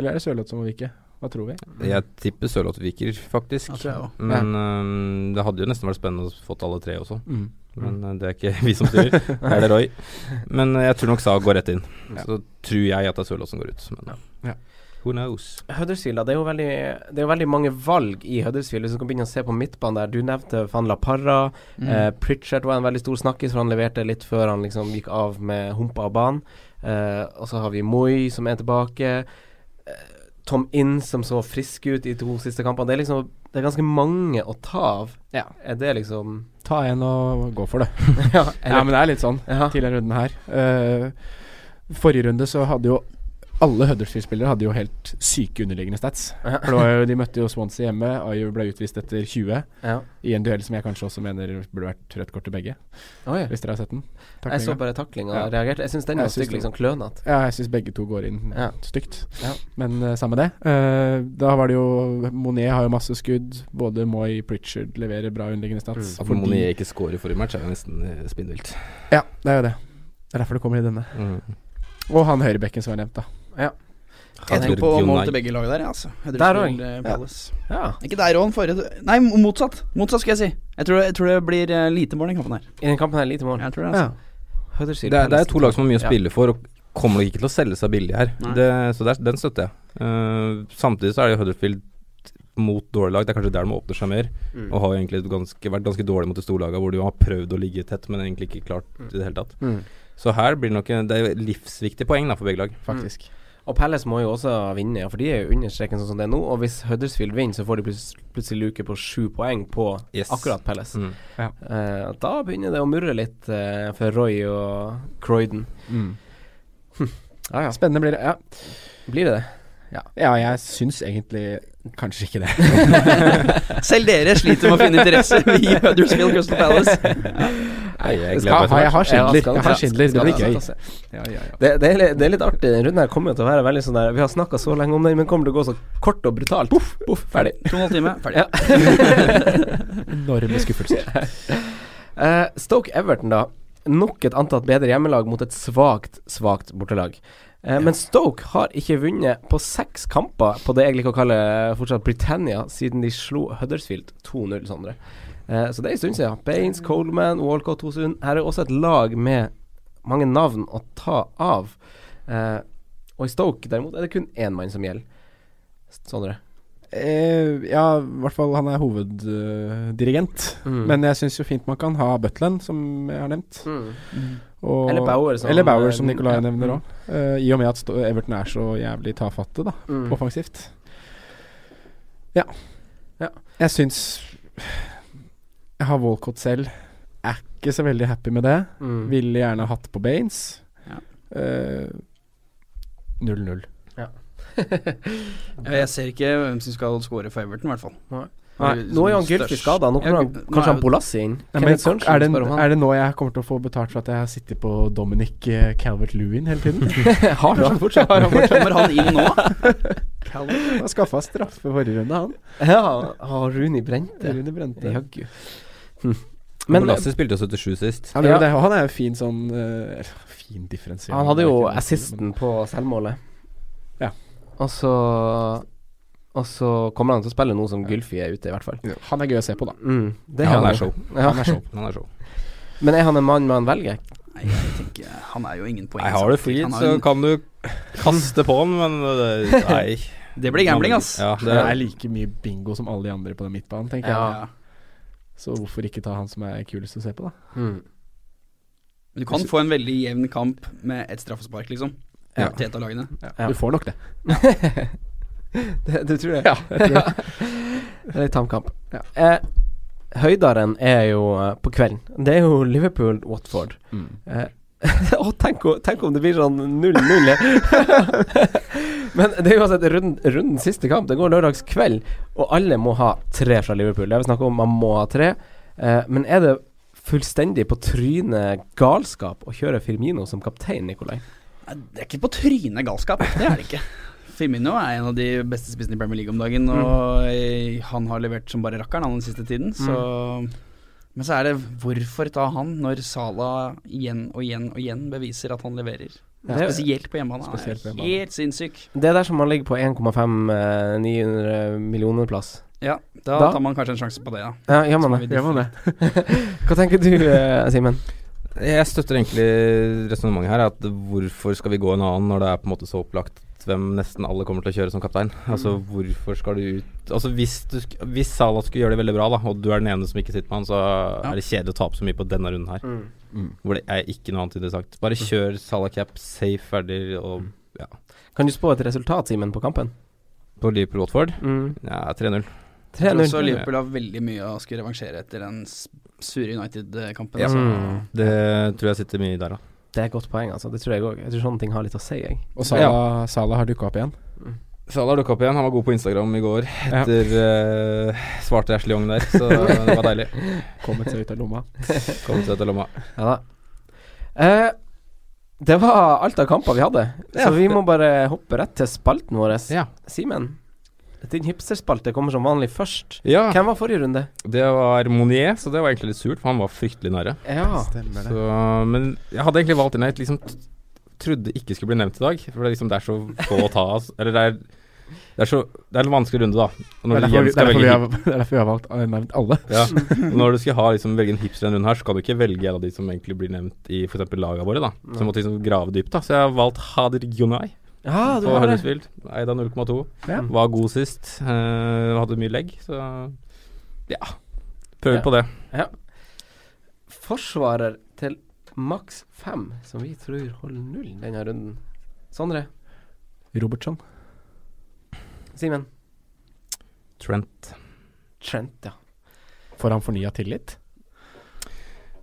C: Eller er det Sørloth som må vike? Hva tror vi?
D: Jeg tipper Sørloth viker, faktisk.
E: Det Mm. tror jeg òg.
D: Men øhm, det hadde jo nesten vært spennende å få alle tre også.
C: Mm.
D: Men eh, det er ikke vi som styrer, det er det Roy. Men eh, jeg tror nok Saha går rett inn.
B: Ja.
D: Så tror jeg at det er Sørloth som går ut. Men eh,
C: Ja.
D: who knows.
B: Huddersfield, da, det er, jo veldig, det er jo veldig mange valg i Huddersfield. Hvis du kan begynne å se på midtbanen der, du nevnte Van La Parra.
C: Mm.
D: Mm.
B: Eh, Pritchard var en veldig stor snakkis, for han leverte litt før han liksom gikk av med humpa av banen. Eh, og så har vi Moi, som er tilbake. Eh, Tom Inns, som så frisk ut i to siste kampene. Det er liksom Det er ganske mange å ta av.
C: Ja.
B: Er det liksom
C: Ta en og gå for det.
B: Ja,
C: Ja, men det er litt sånn
B: ja.
C: til denne runden her. Eh, forrige runde så hadde jo alle Huddersfield-spillere hadde jo helt syke underliggende stats.
B: Ja.
C: For det var jo, De møtte jo Swansea hjemme. Ayew ble utvist etter 20
B: ja.
C: i en duell som jeg kanskje også mener burde vært rødt kort til begge.
B: Oi.
C: Hvis dere har sett den?
B: Jeg så
C: Taklinga.
B: bare taklinga
C: Ja.
B: og reagerte. Jeg syns den
C: Jeg
B: var
C: syns
B: stygg,
C: det-
B: liksom klønete.
C: Ja, jeg syns begge to går inn
B: Ja.
C: stygt.
B: Ja.
C: Men eh, samme det. Eh, da var det jo Monet har jo masse skudd. Både Moi Pritchard leverer bra underliggende stats.
D: At
C: fordi-
D: Monier ikke scorer i forrige match, er jo nesten eh, spinnvilt.
C: Ja, det er jo det. Det er derfor det kommer i denne.
D: Mm.
C: Og han høyrebekken som jeg nevnte, da.
E: Jeg tror på
D: Jon
E: mål
D: Nei.
E: til begge lag der, jeg, altså. Jeg
B: Der
E: tror
B: òg.
E: til, eh, Palace.
B: Ja.
E: Ikke der òg, forrige Nei, motsatt. Motsatt, skal jeg si. Jeg tror, jeg tror det blir eh, lite mål i kampen her.
B: I den kampen her, lite mål.
E: Jeg tror det, altså.
B: Huddersfield
D: Det er, det er
B: Palace.
D: to lag som har mye å
B: Ja.
D: spille for, og kommer nok ikke til å selge seg billig her.
E: Nei.
D: Det, så der, den støtter jeg. Eh, samtidig så er det Huddersfield mot dårlige lag. Det er kanskje der de åpner seg mer,
B: Mm.
D: og har jo egentlig ganske, vært ganske dårlige mot de store lagene, hvor de jo har prøvd å ligge tett, men egentlig ikke klart i det hele tatt.
B: Mm.
D: Så her blir det nok en- Det er jo livsviktige poeng da for begge lag.
C: faktisk.
B: Og Palace må jo også vinne, ja, for de er jo under streken sånn som det er nå. Og hvis Huddersfield vinner, så får de plutselig, plutselig luke på sju poeng på
D: Yes.
B: akkurat Palace.
D: Mm.
B: Eh, da begynner det å murre litt eh, for Roy og Croyden. Ja, ja.
C: Spennende blir det. Mm. Ja,
B: Blir det det?
C: ja jeg syns egentlig kanskje ikke det.
E: Selv dere sliter med å finne interesse i Huddersfield Crystal Palace.
D: Nei, jeg
B: Skal-
D: gleder
C: ha-
D: meg til
C: jeg
D: det.
C: har Schindler.
B: skal-
C: Jeg har Schindler. Det
B: skal-
C: blir
B: skal-
C: gøy.
B: skal-
C: Ja, ja, ja.
B: Det, det, er, litt- det er litt artig. Den runden her kommer jo til å være veldig sånn der Vi har snakka så lenge om den, men kommer til å gå så kort og brutalt. Poff, poff, ferdig.
E: To og en halv time, ferdig.
B: Ja.
C: Enorme skuffelser.
B: Eh, Stoke Everton, da. Nok et antatt bedre hjemmelag mot et svakt, svakt bortelag. Eh, Men Stoke har ikke vunnet på seks kamper på det jeg liker å kalle eh, fortsatt Britannia, siden de slo Huddersfield 2-0, Sondre. Eh, så det er en stund siden. Baines, Coleman, Walcott, Hosund. Her er også et lag med mange navn å ta av. Eh, og i Stoke, derimot, er det kun én mann som gjelder. Sondre.
C: Eh, ja, i hvert fall han er hoveddirigent.
B: Mm.
C: Men jeg syns jo fint man kan ha Butland, som jeg har nevnt.
B: Mm.
C: Og
B: Eller Bauer, som- Mm.
C: eller Bauer, som Nicolai
B: Ja.
C: nevner òg. I og med at Sto- Everton er så jævlig tafatte, da.
B: Mm.
C: Offensivt. Ja.
B: Ja.
C: Jeg syns Jeg har Walcott selv. Er ikke så veldig happy med det.
B: Mm.
C: Ville gjerne hatt på Baines.
E: Ja.
C: Eh, 0-0.
E: Ja, Jeg ser ikke hvem som skal score for Everton, i hvert fall.
B: Nei, nå er jo han Gylfi
E: Størst.
B: skada. Nå kommer
E: Ja,
B: han
E: Gu-
B: kanskje
E: nei,
B: han Bolassi inn.
C: Nei, men
B: Kenneth Sørensen
C: er, det,
B: spør om han.
C: er det nå jeg kommer til å få betalt for at jeg har sittet på Dominic eh, Calvert-Lewin hele tiden?
B: Har han fortsatt?
E: Kommer han inn nå?
C: Han skaffa straffe forrige runde, han.
B: Ja, har Runi brent det?
C: Rune Brente.
B: Jaggu. Hm. Men-
D: Kolassi spilte jo 77 sist.
C: Han, gjør
B: Ja.
C: det, og han er jo fin sånn eh, eller, Fin differensier.
B: eh, Han hadde jo
C: Det er ikke-
B: assisten på selvmålet.
C: Ja.
B: Og så Og så kommer han til å spille noe som Gylfi er ute, i hvert fall.
C: Ja. Han er gøy å se på, da.
B: Mm, det
D: Ja,
B: er
D: han er
B: jo.
D: show.
B: Ja.
D: Han er show. Han er show.
B: Men er han en mann man velger?
E: Nei, jeg tenker Han er jo ingen poeng. altså.
D: Nei, har du fri,
E: Han har
D: så
E: jo-
D: kan du kaste på han, men det- nei.
E: Det blir gambling, ass.
D: Ja,
C: Det er
D: det,
C: like mye bingo som alle de andre på den midtbanen, tenker
B: Ja.
C: jeg. Så hvorfor ikke ta han som er kulest å se på, da?
B: Mm.
E: Du kan få en veldig jevn kamp med et straffespark, liksom.
B: Ja.
E: Til et av lagene.
B: Ja.
C: Du får nok det.
B: Det, du tror det?
C: Ja, jeg tror det.
B: Det er litt tam kamp.
C: Ja.
B: Eh, høydaren er jo eh, på kvelden. Det er jo Liverpool-Watford.
C: Mm.
B: Eh, og tenk, o- tenk om det blir sånn 0-0. Men det er uansett runden, runden siste kamp. Det går lørdags kveld, og alle må ha tre fra Liverpool. Det er vi snakk om, man må ha tre. Eh, men er det fullstendig på trynet galskap å kjøre Firmino som kaptein, Nikolai?
E: Nei, Det er ikke på trynet galskap, det er det ikke. Firmino er en av de beste spissene i Premier League om dagen, og eh, han har levert som bare rakkeren han den siste tiden, så Men så er det hvorfor ta han når Salah igjen og igjen og igjen beviser at han leverer?
B: Ja.
E: Spesielt på hjemmebane. Han
C: Spesielt på
E: er
C: hjemmebane.
E: helt sinnssyk.
B: Det er der som man ligger på 1,5 eh, 900 millioner plass.
E: Ja, da,
B: Da?
E: tar man kanskje en sjanse på det, ja.
B: Ja, gjør man det?
E: Gjør man det?
B: Hva tenker du, eh, Simen?
D: jeg støtter egentlig resonnementet her. At hvorfor skal vi gå en annen når det er på en måte så opplagt hvem nesten alle kommer til å kjøre som kaptein? Altså hvorfor skal du ut Altså Hvis, du, sk- hvis Salah skulle gjøre det veldig bra, da og du er den ene som ikke sitter med han, så
E: Ja.
D: er det kjedelig å tape så mye på denne runden her.
E: Mm.
D: Hvor det er ikke noe annet interessant. Bare kjør Salah cap, safe, ferdig og
B: Kan du spå et resultat, Simen, på kampen?
D: på Liverpool-Watford. Ja, 3-0.
E: Mm. Jeg tror også
B: 3-0.
E: Liverpool har veldig mye å skulle revansjere etter den s- sure United-kampen.
D: Ja.
E: altså.
B: Mm.
D: Det tror jeg sitter mye der, da.
B: Det er et godt poeng, altså. Det tror jeg òg. Jeg tror sånne ting har litt å si, jeg.
C: Og Salah, Salah har dukka opp igjen.
D: Salah dukka opp igjen. Han var god på Instagram i går etter eh, svarte Ashley Young der, så det var deilig.
C: Kommet seg ut av lomma.
D: Kom til dette lomma.
B: Ja da. Eh, det var alt av kamper vi hadde,
D: Ja.
B: så vi må bare hoppe rett til spalten vår.
D: Ja.
B: Simen, din hipsterspalte kommer som vanlig først.
D: ja.
B: Hvem var forrige runde?
D: Det var Monier, så det var egentlig litt surt, for han var fryktelig nære.
B: Ja.
C: Stemmer
D: Så, men jeg hadde egentlig valgt en jeg liksom t- trodde ikke skulle bli nevnt i dag. For det er, liksom, det er så få å ta av. Eller det er, det er så Det er en vanskelig runde, da. Og
C: Det er
D: når, du
C: derfor,
D: igjen
C: vi- det
D: skal
C: er derfor, vi,
D: velge
C: har, det er derfor vi har valgt eh, nevnt alle.
D: hip- ja. Og når du skal ha, liksom, velge en hipster denne runden her, så kan du ikke velge en av de som egentlig blir nevnt i f.eks. lagene våre. da Så jeg måtte liksom grave dypt. da Så jeg har valgt Hadir Gunay
B: ja, du
D: på
B: har det.
D: Huddersfield. Eid av 0,2.
C: Ja.
D: Var god sist. eh, hadde mye legg, så ja. Prøver
B: Ja.
D: på det.
B: Forsvarer til maks fem, som vi tror holder null denne runden. Sondre?
C: Robertson.
B: Simen?
D: Trent.
B: Trent, ja.
C: Får han fornya tillit?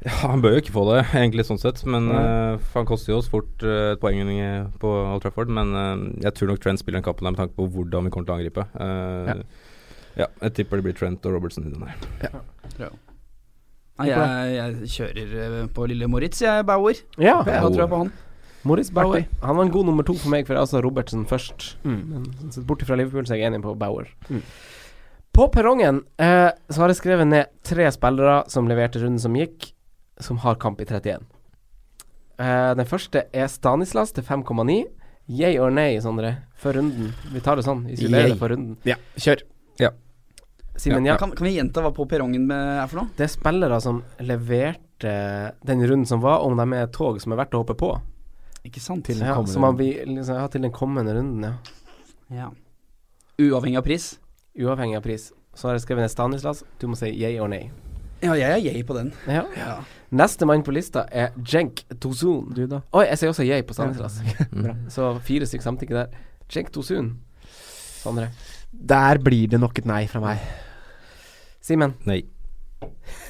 D: Ja, Han bør jo ikke få det, egentlig, sånn sett. Men
C: Nei.
D: eh, for han koster jo oss fort eh, et poeng eh, på Old Trafford. Men eh, jeg tror nok Trent spiller den kampen der med tanke på hvordan vi kommer til å angripe. Eh, ja. jeg tipper det blir Trent og Robertson i den her.
E: Nei, jeg, jeg kjører eh, på lille Moritz, jeg, Bauer.
B: Ja,
E: Da tror jeg på han.
B: Moritz Bauer.
C: Artig.
B: Han var en god nummer to for meg, for altså Robertsen først. Men sånn sett, bort fra Liverpool så er jeg enig på Bauer. På perrongen eh, så har jeg skrevet ned tre spillere som leverte runden som gikk, som har kamp i 31. Eh, den første er Stanislas til 5,9. Yay or nay, Sondre, for runden. Vi tar det sånn. Isolerer
C: Yay.
B: det for runden.
C: Ja, kjør.
B: Simen, ja.
E: Kan, kan vi gjenta hva på perrongen med- er for noe?
B: Det er spillere som leverte den runden som var, om de er et tog som er verdt å hoppe på.
E: Ikke sant?
C: Til- den
B: Ja,
C: kommende
B: som man blir, liksom, ja, til den kommende runden, ja.
E: Ja. Uavhengig av pris?
B: Uavhengig av pris. Så har jeg skrevet ned Stanislas. Du må si yay or nay.
E: Ja, jeg er yay på den.
B: Ja.
E: Ja.
B: Neste mann på lista er Jenk Tosun.
C: Du, da?
B: Oi, jeg sier også yay på Stanislas.
C: Bra.
B: Så fire stykker samtykke der. Jenk Tosun. Sondre.
C: Der blir det nok et nei fra meg.
B: Simen.
D: Nei.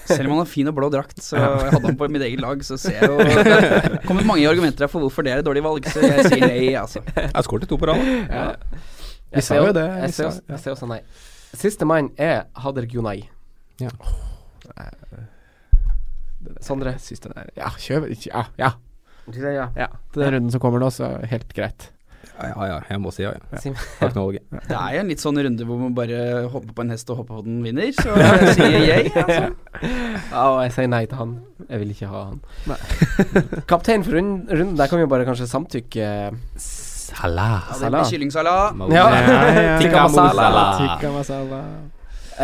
E: Selv om han har fin og blå drakt, så jeg hadde han på mitt eget lag, så ser jeg jo Det kommer mange argumenter her for hvorfor det er et dårlig valg, så jeg sier nei, altså.
D: Jeg skåret to på rad. da.
B: Ja.
C: Vi sa jo det, vi
B: Jeg sier
C: sa-
B: også, jeg sier også nei. Siste mann er Hader Gunay.
D: Ja.
B: Sondre.
C: Siste der. Ja, kjør. Ja, ja.
B: Du sier ja.
C: ja. Til den runden som kommer nå, så helt greit.
D: Ja, ja, jeg må si ja, ja.
B: Sim-
D: Takk, Norge.
E: Det er jo en litt sånn runde hvor man bare hopper på en hest og hopper på den vinner, så jeg sier jeg. Altså.
B: Ja, og jeg sier nei til han. Jeg vil ikke ha han. Kaptein for rund- runden, der kan vi jo bare kanskje samtykke.
D: Salah.
E: Ja, det
B: Salah.
E: blir kyllingsalat.
B: Ja.
C: Tikka
B: Tikka masala.
D: masala.
C: Tikka masala.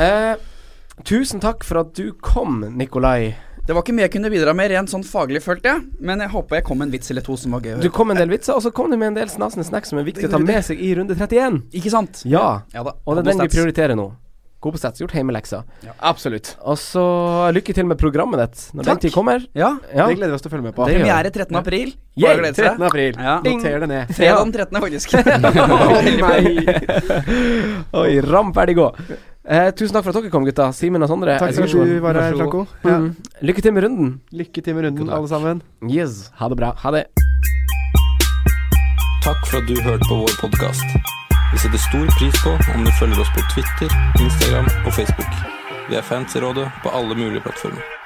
B: Eh, tusen takk for at du kom, Nikolai.
E: Det var ikke mye jeg kunne bidra med rent sånn faglig, følte jeg, men jeg håper jeg kom med en vits eller to som var gøy. å
B: Du
E: høre.
B: kom med en del vitser, og så kom du med en del snasende snacks som er viktig å ta med seg i runde 31.
E: Ikke sant?
B: Ja,
E: Ja da.
B: og det er den vi
E: Stats.
B: prioriterer nå. God på stats, gjort hjemmeleksa.
C: Absolutt.
B: Og så eh, lykke til med programmet ditt når
E: Takk.
B: den tid kommer.
E: Ja.
B: Ja.
C: Det gleder vi oss til å følge med på.
B: Det gjør vi.
E: Premiere 13. april.
B: Yay,
E: Bare å glede
C: 13.
E: seg.
C: april.
E: Ja.
C: Noter det ned.
E: Fredag den 13., faktisk.
B: Oi, ram ferdig gå. Eh, tusen takk for at dere kom, gutta. Simen og Sondre.
C: Takk for at du var her, Franco. Ja.
B: Mm. Lykke til med runden.
C: Lykke til med runden,
D: Takk.
C: alle sammen.
B: Yes. Ha det bra. Ha det.
A: Takk for at du hørte på vår podkast. Vi setter stor pris på om du følger oss på Twitter, Instagram og Facebook. Vi er fans i rådet på alle mulige plattformer.